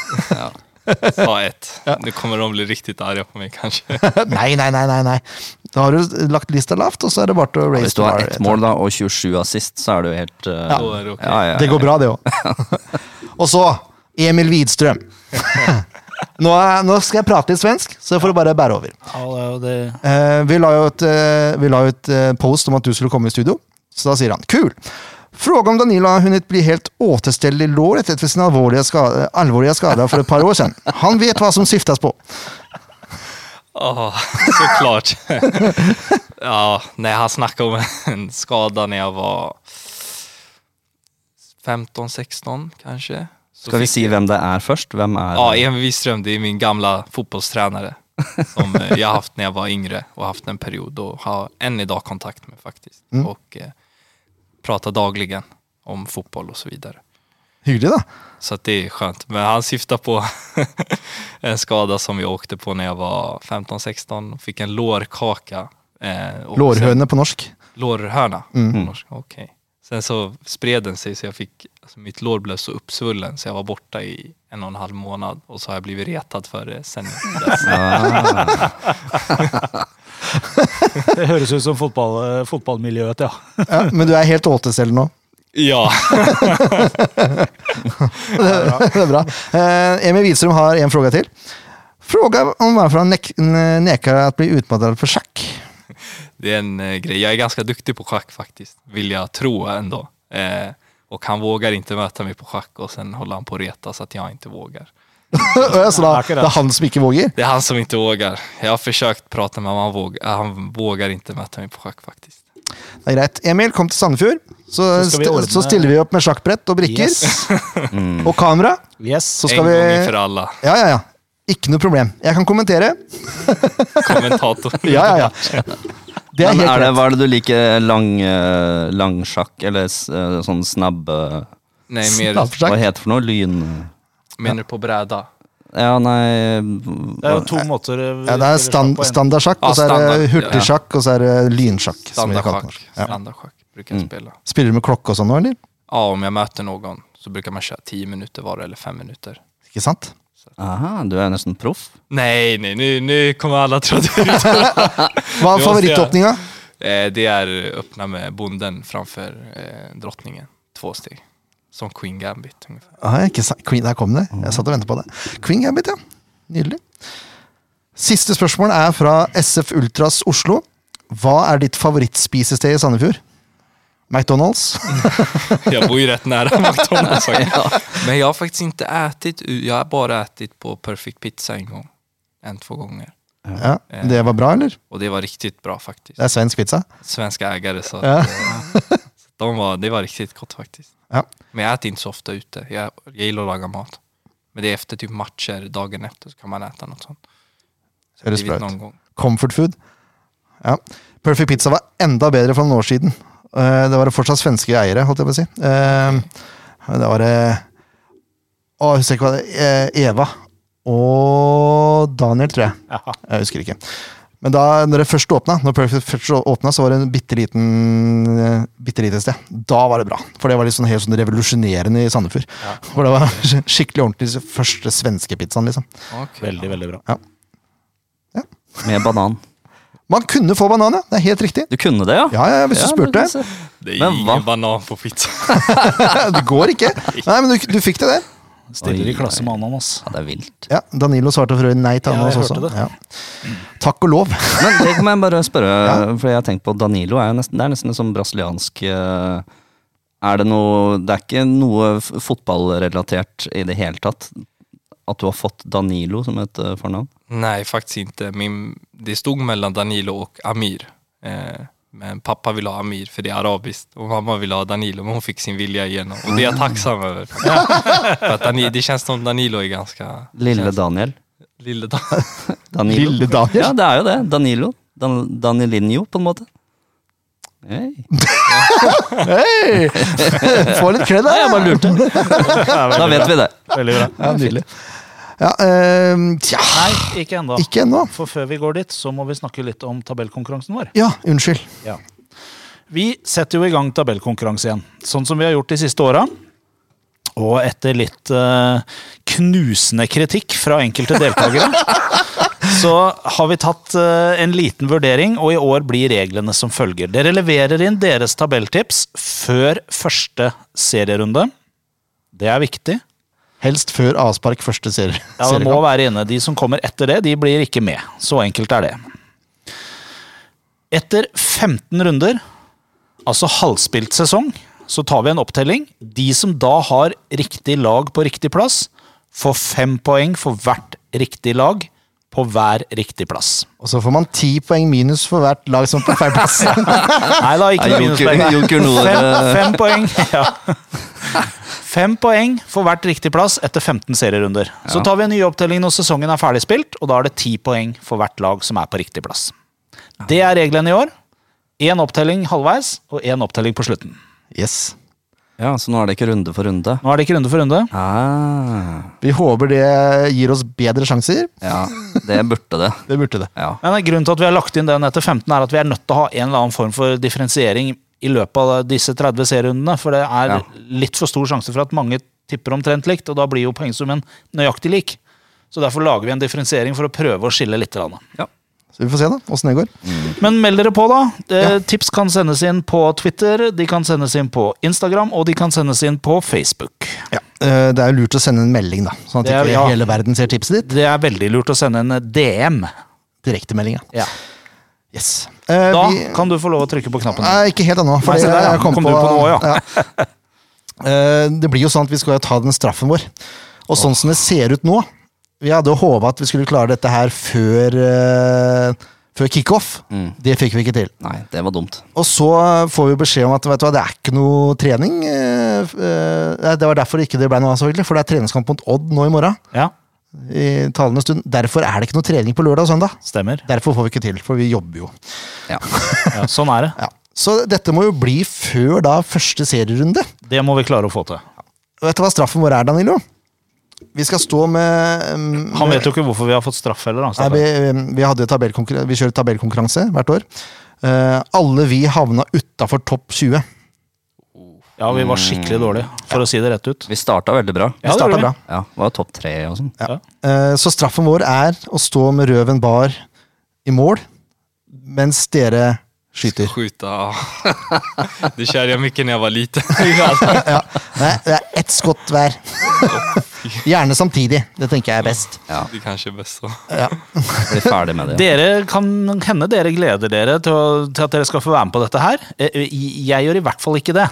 <laughs>
Ta ett. Nu kommer de bli riktigt arga på mig kanske.
nei, nei, nei, nei, nei. Da har du lagt lista lavt, og så er det bare til å raise
Hvis du har
the bar
ett
etter.
mål da, og 27 assist, så er du helt eh,
Då är det okej.
ja, ja, ja.
Det går bra, det òg. <laughs> og så Emil Widstrøm. <laughs> nå, er, nå skal jeg prate litt svensk, så får du bare bære over.
Ja, det er jo det.
Eh, vi la jo et, eh, vi la jo et eh, post om at du skulle komme i studio, så da sier han kul. Fråga om Danilo har hunnit bli helt återställd i låret efter sin allvarliga skada, allvarliga skada för ett par år sedan. Han vet vad som syftas på.
Ja, <laughs> såklart. ja, nej, han snackade om en skada när jag var 15, 16 kanske. Så
Skal vi
fick-
si hvem det er først? Hvem er
Ja, Emil Wiström, det är min gamla fotbollstränare
<laughs>
som eh, jag har haft när jag var yngre och haft en period och har än idag kontakt med faktiskt.
Mm.
Och eh, pratar dagligen om fotboll och så vidare.
Hyggelig, da.
Så att det är skönt. Men han syftar på <laughs> en skada som jag åkte på när jag var 15-16 och fick en lårkaka. Eh, och sen-
Lårhøne på norsk.
Lårhörna.
Mm.
på norska, Okej. Sen så spred den sig så jag fick, alltså mitt lår blev så uppsvullen så jag var borta i en och en halv månad och så har jag blivit retad för det sen dess.
Det høres ut som fotball, eh, fotballmiljøet, ja.
Ja, men du er helt återställd nå.
Ja,
<laughs> Det er bra. Eh, Emil Widström har en fråga til. Fråga om varför han nek nekar att bli utmattad för schack. <laughs>
det är en eh, grej. Jag är ganska duktig på schack faktiskt, vill jag tro ändå. Eh, och han vågar inte möta mig på schack och sen håller han på att reta så att jag inte vågar.
Så da, det
Akkurat.
er han som ikke våger.
Det är han som inte vågar. Jag har försökt prata med honom, han vågar, han vågar inte möta mig på schack faktiskt.
Det er greit. Emil, kom til Sandefjord. Så,
Så skal vi ordne-
st så stiller vi opp med sjakkbrett og brikker.
Yes.
Mm.
Og kamera.
Yes.
Så
en
skal
gång
vi
inför alla
Ja, ja, ja. Ikke noe problem. Jeg kan kommentere.
kommentator.
<laughs> Ja, ja, ja. <laughs> Det er
Men
helt
er det,
greit.
hva er det du liker? Lang, eh, Langsjakk, eller s- eh, sånn snabbe
Nej, mer,
Snabbsjakk.
Hva heter det for noe? Lyn...
menar du på bräda?
Ja, nei
Det er jo
hva-
to måter eh, vi
Ja, det er
spiller sjakk
stand
på. En-
standardsjakk, og så er det
Ja, standard, ja.
hurtigsjakk, og så er det lynsjakk. Som vi kaller det på
Standardschack.
norsk. ja. Mm.
Standardschack brukar jag spela.
Spiller du med klokke og sånn nå, eller?
Ja, om jag möter någon så brukar man köra 10 minuter var eller 5 minuter.
Ikke sant?
Aha, du er nesten proff.
Nej, nej, nu, nu kommer alla tro att
<laughs>
det är
Hva er
Det var
favorittåpninga?
Eh, Det är öppna med bonden framför eh, drottningen. Två steg. Som Queen Gambit ungefär.
Ah, ikke sant? Queen, der kom det. Jeg satt og ventet på det. Queen Gambit, ja. Nydelig. Siste spørsmål er fra SF Ultras Oslo. Hva er ditt favorittspisested i Sandefjord? McDonald's?
Jag bor ju rätt nära <laughs> McDonalds faktiskt. Men jag har faktiskt inte ätit, u- jag har bara ätit på Perfect Pizza en gång. En, två gånger.
Ja, det var bra, eller?
Och det var riktigt bra faktiskt.
Det er svensk pizza.
Svenska ägare så att,
Ja.
eh, så de var, det var riktigt gott faktiskt.
Ja.
Men jag äter inte så ofta ute. Jag, jag gillar att laga mat. Men det är efter typ matcher, dagen efter så kan man äta något sånt. Så det har
Høres bra
blivit
ut.
någon gång.
Comfort food. Ja. Perfect Pizza var enda bedre for noen år siden. Eh, Det var det fortsatt svenske eiere, holdt jeg på å si. Eh, Det var det Å, jeg husker ikke hva det eh, Eva og Daniel, tror jeg.
Jaha.
Jeg husker ikke. Men da når det først åpna, når Perfect først åpna, så var det en bitte liten eh, bitte lite sted. Da var det bra. For det var litt sånn helt sånn revolusjonerende i Sandefjord. <laughs> For det var skikkelig ordentlig første svenske pizzaen, liksom.
Okej.
Veldig, veldig bra.
Med banan.
Man kunne få banan, ja. Det er helt riktig.
Du kunne det, ja?
Ja, ja, ja, hvis du spurte.
men-
Det är
Men va?
ingen banan på pizza.
<laughs> Det går ikke. Nei, men du, du fikk det der.
Stiller
Oi,
i klasse med ananas.
Ja, det er vilt.
Ja, Danilo svarte for øvrig nei til
Ja,
ananas
jeg
også.
hørte det.
Ja. Takk og lov.
Men det må jeg bare spørre, for jeg har tenkt på Danilo er jo nesten, det er nesten en sånn brasiliansk eh, Er det noe Det er ikke noe f- fotballrelatert i det hele tatt? At du har fått Danilo som et eh, fornavn?
Nej, faktiskt inte. Min, det stod mellan Danilo och Amir. Eh, men pappa ville ha Amir för det är arabiskt och mamma ville ha Danilo men hon fick sin vilja igenom och det är jag tacksam över. för att Dani, det känns som Danilo är ganska...
Lille Daniel.
Lille Dan
Danilo.
Lille Daniel?
Ja, det er jo det. Danilo. Dan Danilinho, på en måte. Hei.
Hei!
<laughs>
Få litt kred, da.
Da vet vi det.
Veldig bra.
Ja, nydelig. Ja, ehm, tja
Nei, ikke ennå.
Ikke ennå.
For før vi går dit, så må vi snakke litt om tabellkonkurransen vår.
Ja, unnskyld.
Vi setter jo i gang tabellkonkurranse igjen, sånn som vi har gjort de siste åra. Og etter litt eh, knusende kritikk fra enkelte deltakere, så har vi tatt eh, en liten vurdering, og i år blir reglene som følger. Dere leverer inn deres tabelltips før første serierunde. Det er viktig.
Helst før avspark første serie.
Ja, det må
seriekamp.
være inne. De som kommer etter det, de blir ikke med. Så enkelt er det. Etter 15 runder, altså halvspilt sesong, så tar vi en opptelling. De som da har riktig lag på riktig plass, får fem poeng for hvert riktig lag på hver riktig plass.
Og så får man ti poeng minus for hvert lag som er på feil
<laughs>
plass.
Nei da, ikke noe
Nei, Joker-
minuspoeng.
Joker Nord,
Fem,
eh.
fem poeng. Ja. Fem poeng for hvert riktig plass etter 15 serierunder. Så tar vi en ny opptelling når sesongen er ferdig spilt, og da er det ti poeng for hvert lag som er på riktig plass. Det er reglene i år. Én opptelling halvveis og én opptelling på slutten.
Yes.
Ja, Så nå er det ikke runde for runde?
Nå er det ikke runde for runde.
Ah,
Vi håper det gir oss bedre sjanser.
ja, det burde det.
Det burde det.
Ja.
Men eh, grunnen til at vi har lagt inn den etter 15, er at vi er nødt til å ha en eller annen form for differensiering i løpet av disse 30 serierundene. For det er
Ja.
litt for stor sjanse for at mange tipper omtrent likt, og da blir jo poengsummen nøyaktig lik. Så derfor lager vi en differensiering for å prøve å skille litt. grann.
Så vi får se da, åssen det går.
Men meld dere på, da. Eh,
Ja.
Tips kan sendes inn på Twitter, de kan sendes inn på Instagram, og de kan sendes inn på Facebook.
Ja. eh, Det er jo lurt å sende en melding, da. Sånn at
Det er-
ikke
ja.
hele verden ser tipset ditt.
Det er veldig lurt å sende en DM.
Direktemelding, ja.
Ja.
Yes. Eh,
Da
vi-
kan du få lov å trykke på knappen.
Nei, ikke helt ennå. for
Nei, se
det-
der, ja.
jeg
Kom du på noe, ja.
Eh, Det blir jo sånn at vi skal jo ta den straffen vår. Og sånn som det ser ut nå Vi hadde jo håpa at vi skulle klare dette her før, eh, før kickoff.
Mm.
Det fikk vi ikke til.
Mm. Nei, det var dumt.
Og så får vi beskjed om at vet du hva, det er ikke noe trening. eh, f- eh, nei, Det var derfor ikke det ble noe av, selvfølgelig. For det er treningskamp mot Odd nå i morgen.
Ja,
I talende stund. Derfor er det ikke noe trening på lørdag og søndag.
stemmer.
Derfor får vi ikke til, for vi jobber jo.
Ja.
Ja, sånn er det.
Ja. Så dette må jo bli før da første serierunde.
Det må vi klare å få til.
Vet du hva straffen vår er, Danilo? Vi skal stå med um,
Han vet jo ikke hvorfor vi har fått straff heller. da,
Nei,
Steffen.
vi, vi, hadde jo tabellkonkurran- vi kjører tabellkonkurranse hvert år. Eh, alle vi havna utafor topp 20.
Ja, vi var skikkelig dårlige, for å si det rett ut.
<laughs> Vi starta veldig bra.
Vi
Ja, det
starta
gjorde vi.
bra.
Ja, Var topp tre og sånn.
Eh, så straffen vår er å stå med røven bar i mål mens dere
<laughs>
skyter.
<laughs> Skjuta, ja. Det kände jag mycket när jag var liten.
Ja. Nei, det er ett skott hver. Gjerne samtidig. Det tenker jeg er best.
Ja,
Det kanske är bäst så.
Bli ferdig med det.
Dere kan hende dere gleder dere til, å, til at dere skal få være med på dette her. Eh, Jeg gjør i hvert fall ikke det.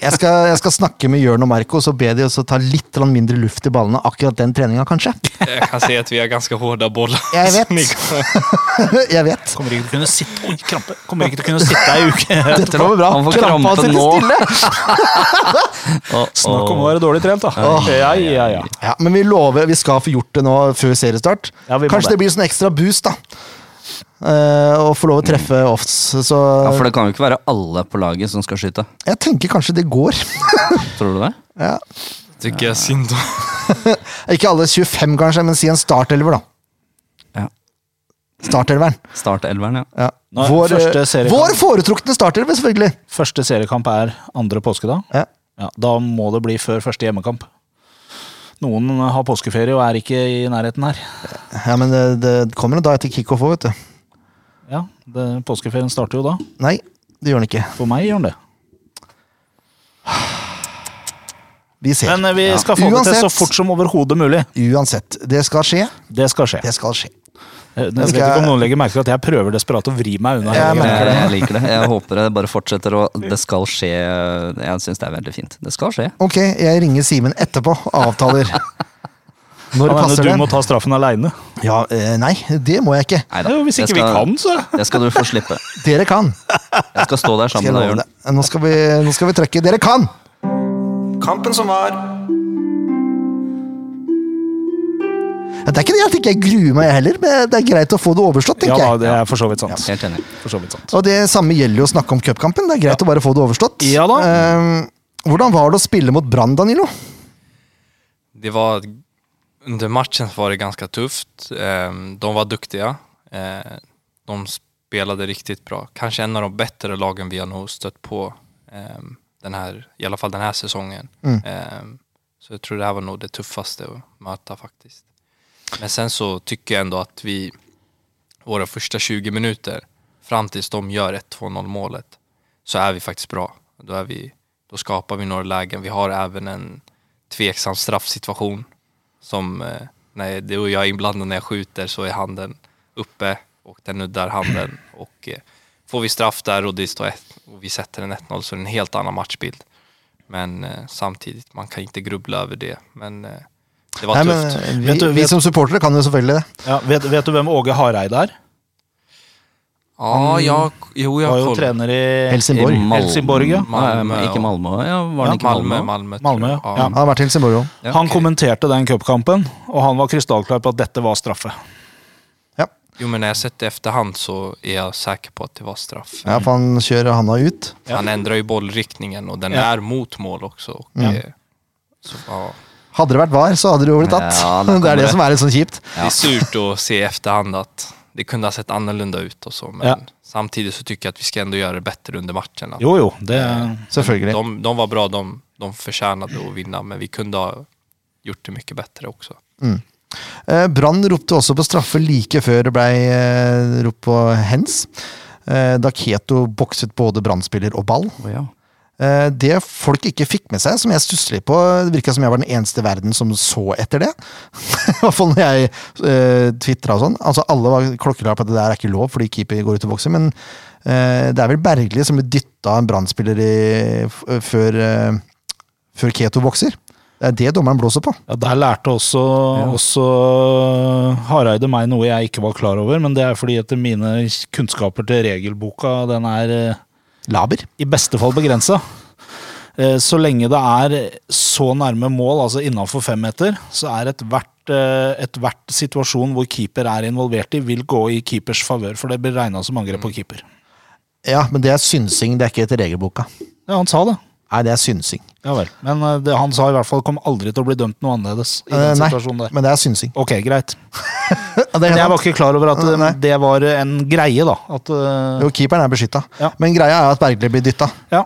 Jeg skal, jeg skal snakke med Jørn og Marco og så be de også ta litt grann mindre luft i ballene akkurat den treninga, kanskje.
Jag kan säga att vi har ganska hårda bollar.
<laughs>
Jeg vet.
Så ni-
<laughs> jeg vet.
Kommer ikke til å kunne sitte Oi, krampe. Kommer ikke til å kunne sitte ei uke
<laughs> Dette lover bra.
Han får
Krampa
krampe
sitter
nå.
stille.
Snakk om å være dårlig trent, da. Ja, ja, ja.
Ja, men vi lover vi skal få gjort det nå før seriestart.
Ja, vi må
Kanskje
det.
det blir sånn ekstra boost, da. Eh, og få lov å treffe
Mm.
offs. Så
Ja, For det kan jo ikke være alle på laget som skal skyte.
jeg tenker kanskje det går.
Tror du det?
ja.
Tycker jag synd om.
Ikke alle 25, kanskje, men si en startelver, da.
Ja.
Startelveren.
Start elveren, ja.
Ja.
Nå,
Vår, eh,
første seriekamp.
vår foretrukne startelver, selvfølgelig.
Første seriekamp er andre påskedag.
Ja.
Ja, da må det bli før første hjemmekamp. Noen har påskeferie og er ikke i nærheten her.
ja, men det, det kommer en dag etter kickoff òg, vet du.
Ja, det, Påskeferien starter jo da.
Nei, det gjør den ikke.
For meg gjør den det.
Vi ser.
Men eh, vi skal få det til
Uansett.
så fort som overhodet mulig.
Uansett. Det skal skje.
Det skal skje. Eh,
Det skal skje.
Jeg
skal
vet ikke om noen legger merke til at jeg prøver desperat å vri meg unna. hele
Jeg
greia.
merker
Jeg, jeg liker det. Jeg håper det bare fortsetter, og det skal skje. Jeg syns det er veldig fint. Det skal skje.
Ok, jeg ringer Simen etterpå og
<laughs>
avtaler. Når
Han mener
passer
du
det?
må ta straffen aleine.
Ja, eh, nei, det må jeg ikke.
Neida,
Hvis
det
ikke vi
skal-
kan, så
Det skal du få slippe.
Dere kan.
Jeg skal stå der
Skal
sammen
jeg
med deg,
love
Jørn.
det. Nå skal vi, nå skal vi trekke. Dere kan!
Kampen som var
Ja, Det er ikke det at jeg ikke gruer meg heller, men det er greit å få det overstått,
Ja
tenker
da,
jeg.
det er for så vidt sant.
Helt enig.
For så vidt sant.
Og det samme gjelder jo å snakke om cupkampen. Det er greit å bare få det overstått.
Ja da.
Eh, hvordan var det å spille mot Brann, Danilo?
Det var under matchen var det ganska tufft. Eh, De var duktiga. Eh, De spelade riktigt bra. Kanske en av de bättre lagen vi har nog stött på eh, den här, i alla fall den här säsongen.
Mm.
Eh, Så jag tror det här var nog det tuffaste att möta faktiskt. Men sen så tycker jag ändå att vi, våra första 20 minuter, fram tills de gör 1-2-0 målet, så är vi faktiskt bra. Då, är vi, då skapar vi några lägen. Vi har även en tveksam straffsituation som eh, när det och jag är inblandad när jag skjuter så är handen uppe och den nuddar handen och eh, får vi straff där och det står ett, och vi sätter en 1-0 så är det en helt annan matchbild. Men eh, samtidigt, man kan inte grubbla över det. Men eh, det
Nei,
var
men eh,
tufft.
vi,
Vet du-
vi
vet-
som supportere kan jo selvfølgelig det.
Ja, vet, vet du hvem Åge Hareide er?
Ja, jag, jo, jag
Var
har
Ah, jo
koll.
trener i
Helsingborg.
I Mal-
Helsingborg, ja.
Malmö, Nei, ikke Malmö. Ja, var det
Malmö,
ikke Malmö?
Malmö. Malmö, tror
Malmö,
jag.
ja.
Han har vært i Helsingborg òg.
Ja,
Han
ok.
kommenterte den cupkampen, og han var krystallklar på at dette var straffe.
Jo, men när jag sett det i efterhand så är jeg säker på att det var straff.
Ja, for han kjører handa ut.
Han ändrar ju bollriktningen och den
Ja.
är mot mål också. Och, eh, så, ja.
Hadde det vært var, så hadde det jo blitt tatt.
Ja,
<laughs>
da
det
kommer
er det
det.
som er litt sånn kjipt.
Det är surt att se i efterhand att det kunde ha sett annorlunda ut och så, men
Ja.
samtidigt så tycker jag att vi ska ändå göra det bättre under matchen. Att
Jo, jo, det
Selvfølgelig.
De, de var bra, de, de förtjänade att vinna, men vi kunde ha gjort det mycket bättre också.
Eh, Brann ropte også på straffe like før det blei eh, ropt på hens. Eh, da Keto bokset både Brann-spiller og ball.
Å, ja.
Eh, Det folk ikke fikk med seg, som jeg stusser litt på Det virka som jeg var den eneste i verden som så etter det. <laughs> I hvert fall når jeg uh, tvitra og sånn. Altså Alle var klokkeklare på at det der er ikke lov fordi keeper går ut og bokser, men eh, det er vel Bergli som blir dytta av en brannspiller f før, eh, før Keto bokser. Det er det dommeren blåser på.
Ja, Der lærte også, også Hareide meg noe jeg ikke var klar over, men det er fordi at mine kunnskaper til regelboka den er eh,
Laber.
i beste fall begrensa. Eh, Så lenge det er så nærme mål, altså innafor femmeter, så er ethvert eh, ethvert situasjon hvor keeper er involvert i, vil gå i keepers favør, for det blir regna som angrep på keeper.
Ja, men det er synsing, det er ikke etter regelboka.
Ja, han sa det.
Nei, det er synsing.
Ja vel. Men eh, det han sa i hvert fall kom aldri til å bli dømt noe annerledes i den
Eh, nei,
situasjonen der.
men det er synsing.
Ok, greit.
Ja, det er
Men
helt
jeg var ikke klar over at eh,
Nei.
det var en greie, da. At, eh,
Jo, keeperen er beskytta.
Ja.
Men greia er at Bergli blir dytta.
ja.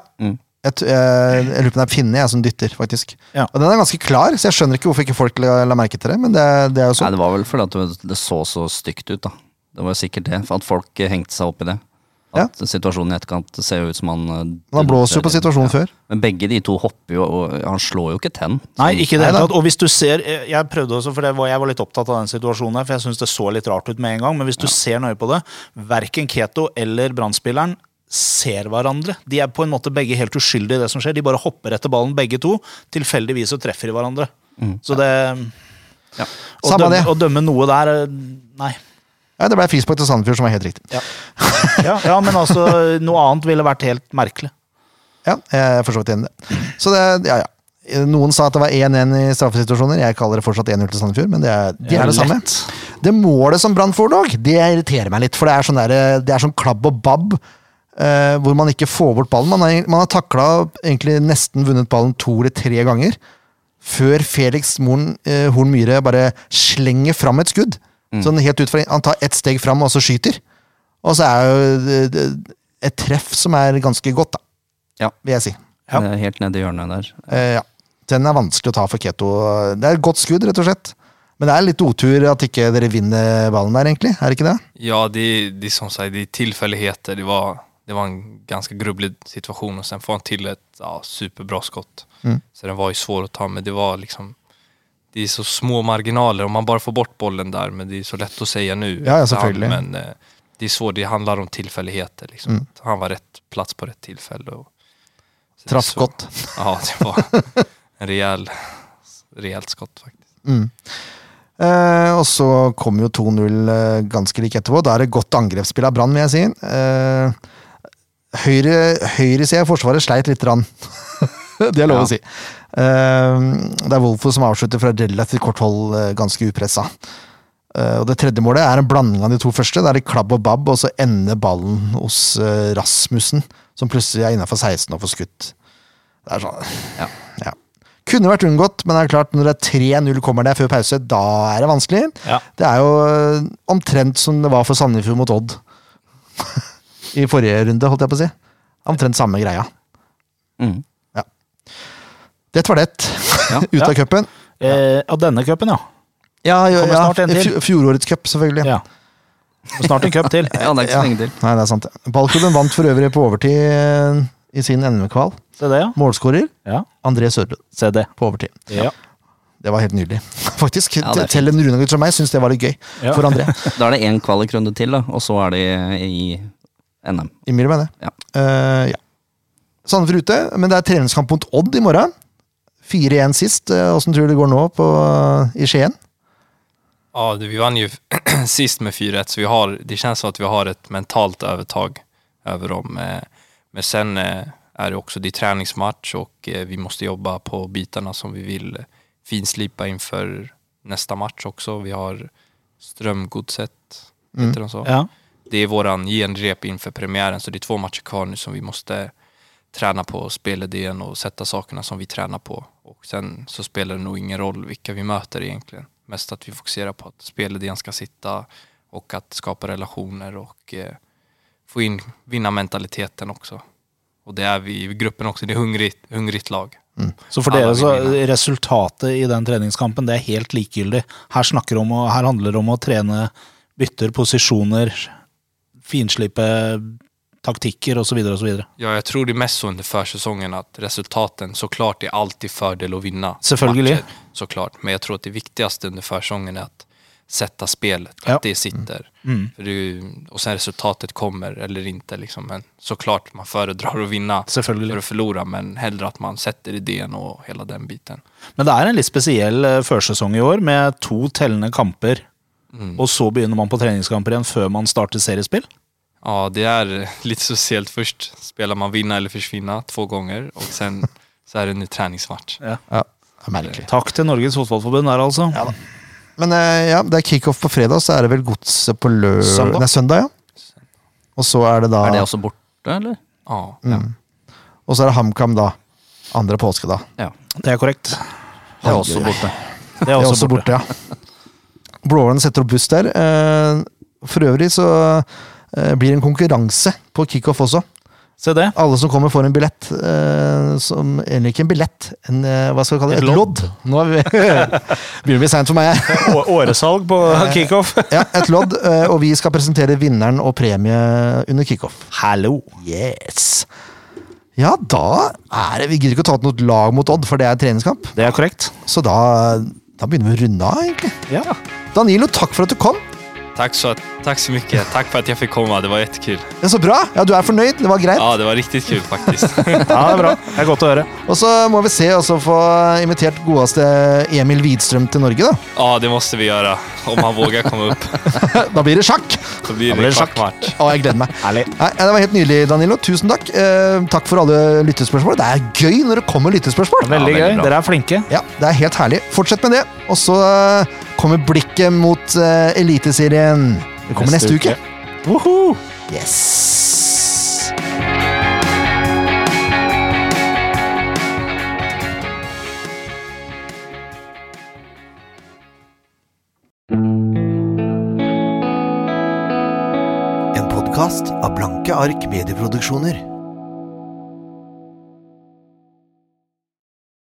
Jeg, t- jeg, jeg lurer på om det er Finne jeg som dytter, faktisk.
Ja.
Og den er ganske klar, så jeg skjønner ikke hvorfor ikke folk la, la merke til det. Men det, det er jo
Nei,
sånn.
det var vel fordi at det så så stygt ut, da. Det var jo sikkert det, for at folk eh, hengte seg opp i det. At situasjonen i etterkant ser jo ut som han eh,
Men han blåser jo på situasjonen før.
Men begge de to hopper jo, og han slår jo ikke tenn.
Nei, ikke i det
Nei
hele
da.
tatt. Og hvis du ser eh, Jeg prøvde også, for det var, jeg var litt opptatt av den situasjonen her, for jeg syns det så litt rart ut med en gang, men hvis du ser nøye på det, verken Keto eller Brannspilleren ser hverandre. De er på en måte begge helt uskyldige i det som skjer. De bare hopper etter ballen, begge to. Tilfeldigvis så treffer de hverandre. Så det
Ja.
Å
Mm. Samme
dømme,
det.
å dømme noe der eh, Nei.
Ja, det ble frispark til Sandefjord, som var helt riktig.
Ja. Ja, ja, men altså, noe annet ville vært helt merkelig.
Ja, jeg er for så vidt enig i det. Så det, ja, ja. Noen sa at det var 1-1 i straffesituasjoner. Jeg kaller det fortsatt 1-0 til Sandefjord, men det er, de er det samme. Det målet som Brann får, dog, det irriterer meg litt. For det er sånn, der, det er sånn klabb og babb, eh, hvor man ikke får bort ballen. Man har, man har takla egentlig nesten vunnet ballen to eller tre ganger, før Felix Moren, eh, Horn Myhre bare slenger fram et skudd. Sånn helt ut fra, Han tar ett steg fram, og så skyter. Og så er jo det- det- et treff som er ganske godt, da,
Ja.
vil jeg si.
Ja.
Det er Eh, Helt nede i hjørnet der.
Eh, ja. Den er vanskelig å ta for Keto. Det er et godt skudd, rett og slett. Men det er litt otur at ikke dere vinner ballen der, egentlig. Er det ikke det?
Ja, det, det är som sagt, det är tillfälligheter. Det var, det var en ganska grubblig situation och sen får han till ett ja, superbra skott.
Mm.
Så den var ju svår att ta, men det var liksom det är så små marginaler om man bara får bort bollen där, men det är så lätt att säga nu.
Ja, ja,
efterhand,
självklart.
Men eh, det är svårt, det handlar om tillfälligheter. Liksom.
Mm.
Att Han var rätt plats på rätt tillfälle. Och, så det är
Traff
så-
godt.
Ja,
<laughs>
det var en rejäl, rejält skott faktiskt.
Mm. Eh, og så kom jo 2-0 eh, ganske like etterpå. Da er det godt angrepsspill av Brann, vil jeg si. Eh, høyre Høyresida i Forsvaret sleit litt. Rann. <laughs> det er lov å si. Eh, det er Wolfo som avslutter fra relativt kort hold, eh, ganske upressa. Eh, og det tredje målet er en blanding av de to første. Det er det klabb og babb, og så ender ballen hos eh, Rasmussen, som plutselig er innafor 16 og får skutt. Det er sånn
Ja.
ja. Kunne vært unngått, men det er klart når det er 3-0 kommer der før pause, da er det vanskelig.
Ja.
Det er jo eh, omtrent som det var for Sandefjord mot Odd <laughs> i forrige runde, holdt jeg på å si. Omtrent samme greia.
Mm.
Det var det.
Ja.
<laughs> Ut av cupen.
Eh, av denne cupen, ja.
Ja, ja,
Kommer
ja.
snart en til.
fj- Fjorårets cup, selvfølgelig.
ja. Snart en cup til.
ja, det er ikke så lenge til.
Nei, det er sant. det. Ballklubben vant for øvrig på overtid eh, i sin NM-kval.
<laughs> Se det, ja.
Målskårer
ja.
André Sørlund
Se det.
på overtid.
Ja.
Det var helt nydelig, <laughs> faktisk.
Ja, det er
Til en runegutt som meg syns det var litt gøy.
Ja.
For André.
Da er det én kvalikrunde til, da, og så er det i NM.
Innbiller meg det.
Ja.
Eh, ja. Sandefjord ute, men det er treningskamp mot Odd i morgen. 4-1 sist. Åssen tror du det går nå på, i Skien?
Ja, det- vi vann ju <clears throat> sist med 4-1, så vi har, det känns som att vi har ett mentalt övertag över dem. Eh, Men sen eh, är det också, det är träningsmatch och eh, vi måste jobba på bitarna som vi vill eh, finslipa inför nästa match också. Vi har strömgodset, heter de så?
Ja.
Det är våran genrep inför premiären, så det är två matcher kvar nu som vi måste träna på spelidén och sätta sakerna som vi tränar på. Och sen så spelar det nog ingen roll vilka vi möter egentligen. Mest att vi fokuserar på att spelidén ska sitta och att skapa relationer och eh, få in vinnarmentaliteten också. Och det är vi i gruppen också, det är hungrigt, hungrigt lag.
Så for
Ja, da
dere, så
vil vi
resultatet i den treningskampen, det er helt likegyldig. Her, snakker om, å- her handler det om å trene bytter, posisjoner, finslipe taktikker osv. osv.
Ja, jag tror det är mest sånn så under försäsongen att resultaten såklart är alltid fördel att vinna.
Selvfølgelig.
Matcher, såklart. Men jag tror att det viktigaste under försäsongen är att sätta spelet,
Ja. Mm.
att det sitter. För det är ju, och sen resultatet kommer eller inte. Liksom. Men såklart man föredrar att vinna
Selvfølgelig.
för att förlora, men hellre att man sätter idén och hela den biten.
Men det er en litt spesiell eh, førsesong i år, med to tellende kamper. Og så begynner man på treningskamper igjen før man starter seriespill.
Ja, det är lite socialt först. Spelar man vinna eller försvinna två gånger och sen så är det en träningsmatch.
Ja, det er merkelig.
Takk til Norges Fotballforbund der, altså.
Men eh, ja, det er kickoff på fredag, så er det vel Godset på lø...
Søndag.
Nei, søndag. ja. Og så er det da Mm.
Er det også borte, eller?
Ja.
Og så er det HamKam da. Andre påske, da.
Ja.
Det er korrekt.
Det er også borte.
Det er
Det er
også
også
borte.
borte, ja. Blåhålen setter opp buss der. Eh, For øvrig så eh, blir det en konkurranse på kickoff også.
Se det.
Alle som kommer, får en billett. eh, Som, eller ikke en billett, en, eh, hva skal vi kalle det?
Et
Et lodd. Nå er vi, <laughs> begynner vi seint for meg. her.
Å- Åresalg på kickoff.
Ja, et lodd, eh, og vi skal presentere vinneren og premie under kickoff.
Hallo.
Yes! Ja, da er det Vi gidder ikke å ta ut noe lag mot Odd, for det er treningskamp.
Det er korrekt.
Så da, da begynner vi å runde av, egentlig.
Ja.
Danilo, takk for at du kom.
Tack, så, tack så mycket. Tack för att jag fick komma. Det var jättekul.
Det er så bra. Ja, Du er fornøyd? Det var greit?
Ja, det var riktigt kul faktiskt.
Ja, det er bra. Det er godt å høre.
Og så må vi se også få invitert godeste Emil Widstrøm til Norge, da.
Ja, det måste vi göra. Om han vågar komma upp.
Da blir det sjakk!
Då blir
blir det
det
schack.
kvartmatch.
Å, jeg gleder meg.
Herlig.
Nei, ja, det var helt nydelig, Danilo. Tusen takk. Eh, takk for alle lyttespørsmål. Det er gøy når det kommer lyttespørsmål.
Veldig
veldig
gøy.
bra.
Dere er flinke.
Ja, det er helt herlig. Fortsett med det. Og så eh, kommer blikket mot eh, Eliteserien. Det kommer neste, uke.
Woohoo!
Yes!
En podkast av Blanke ark medieproduksjoner.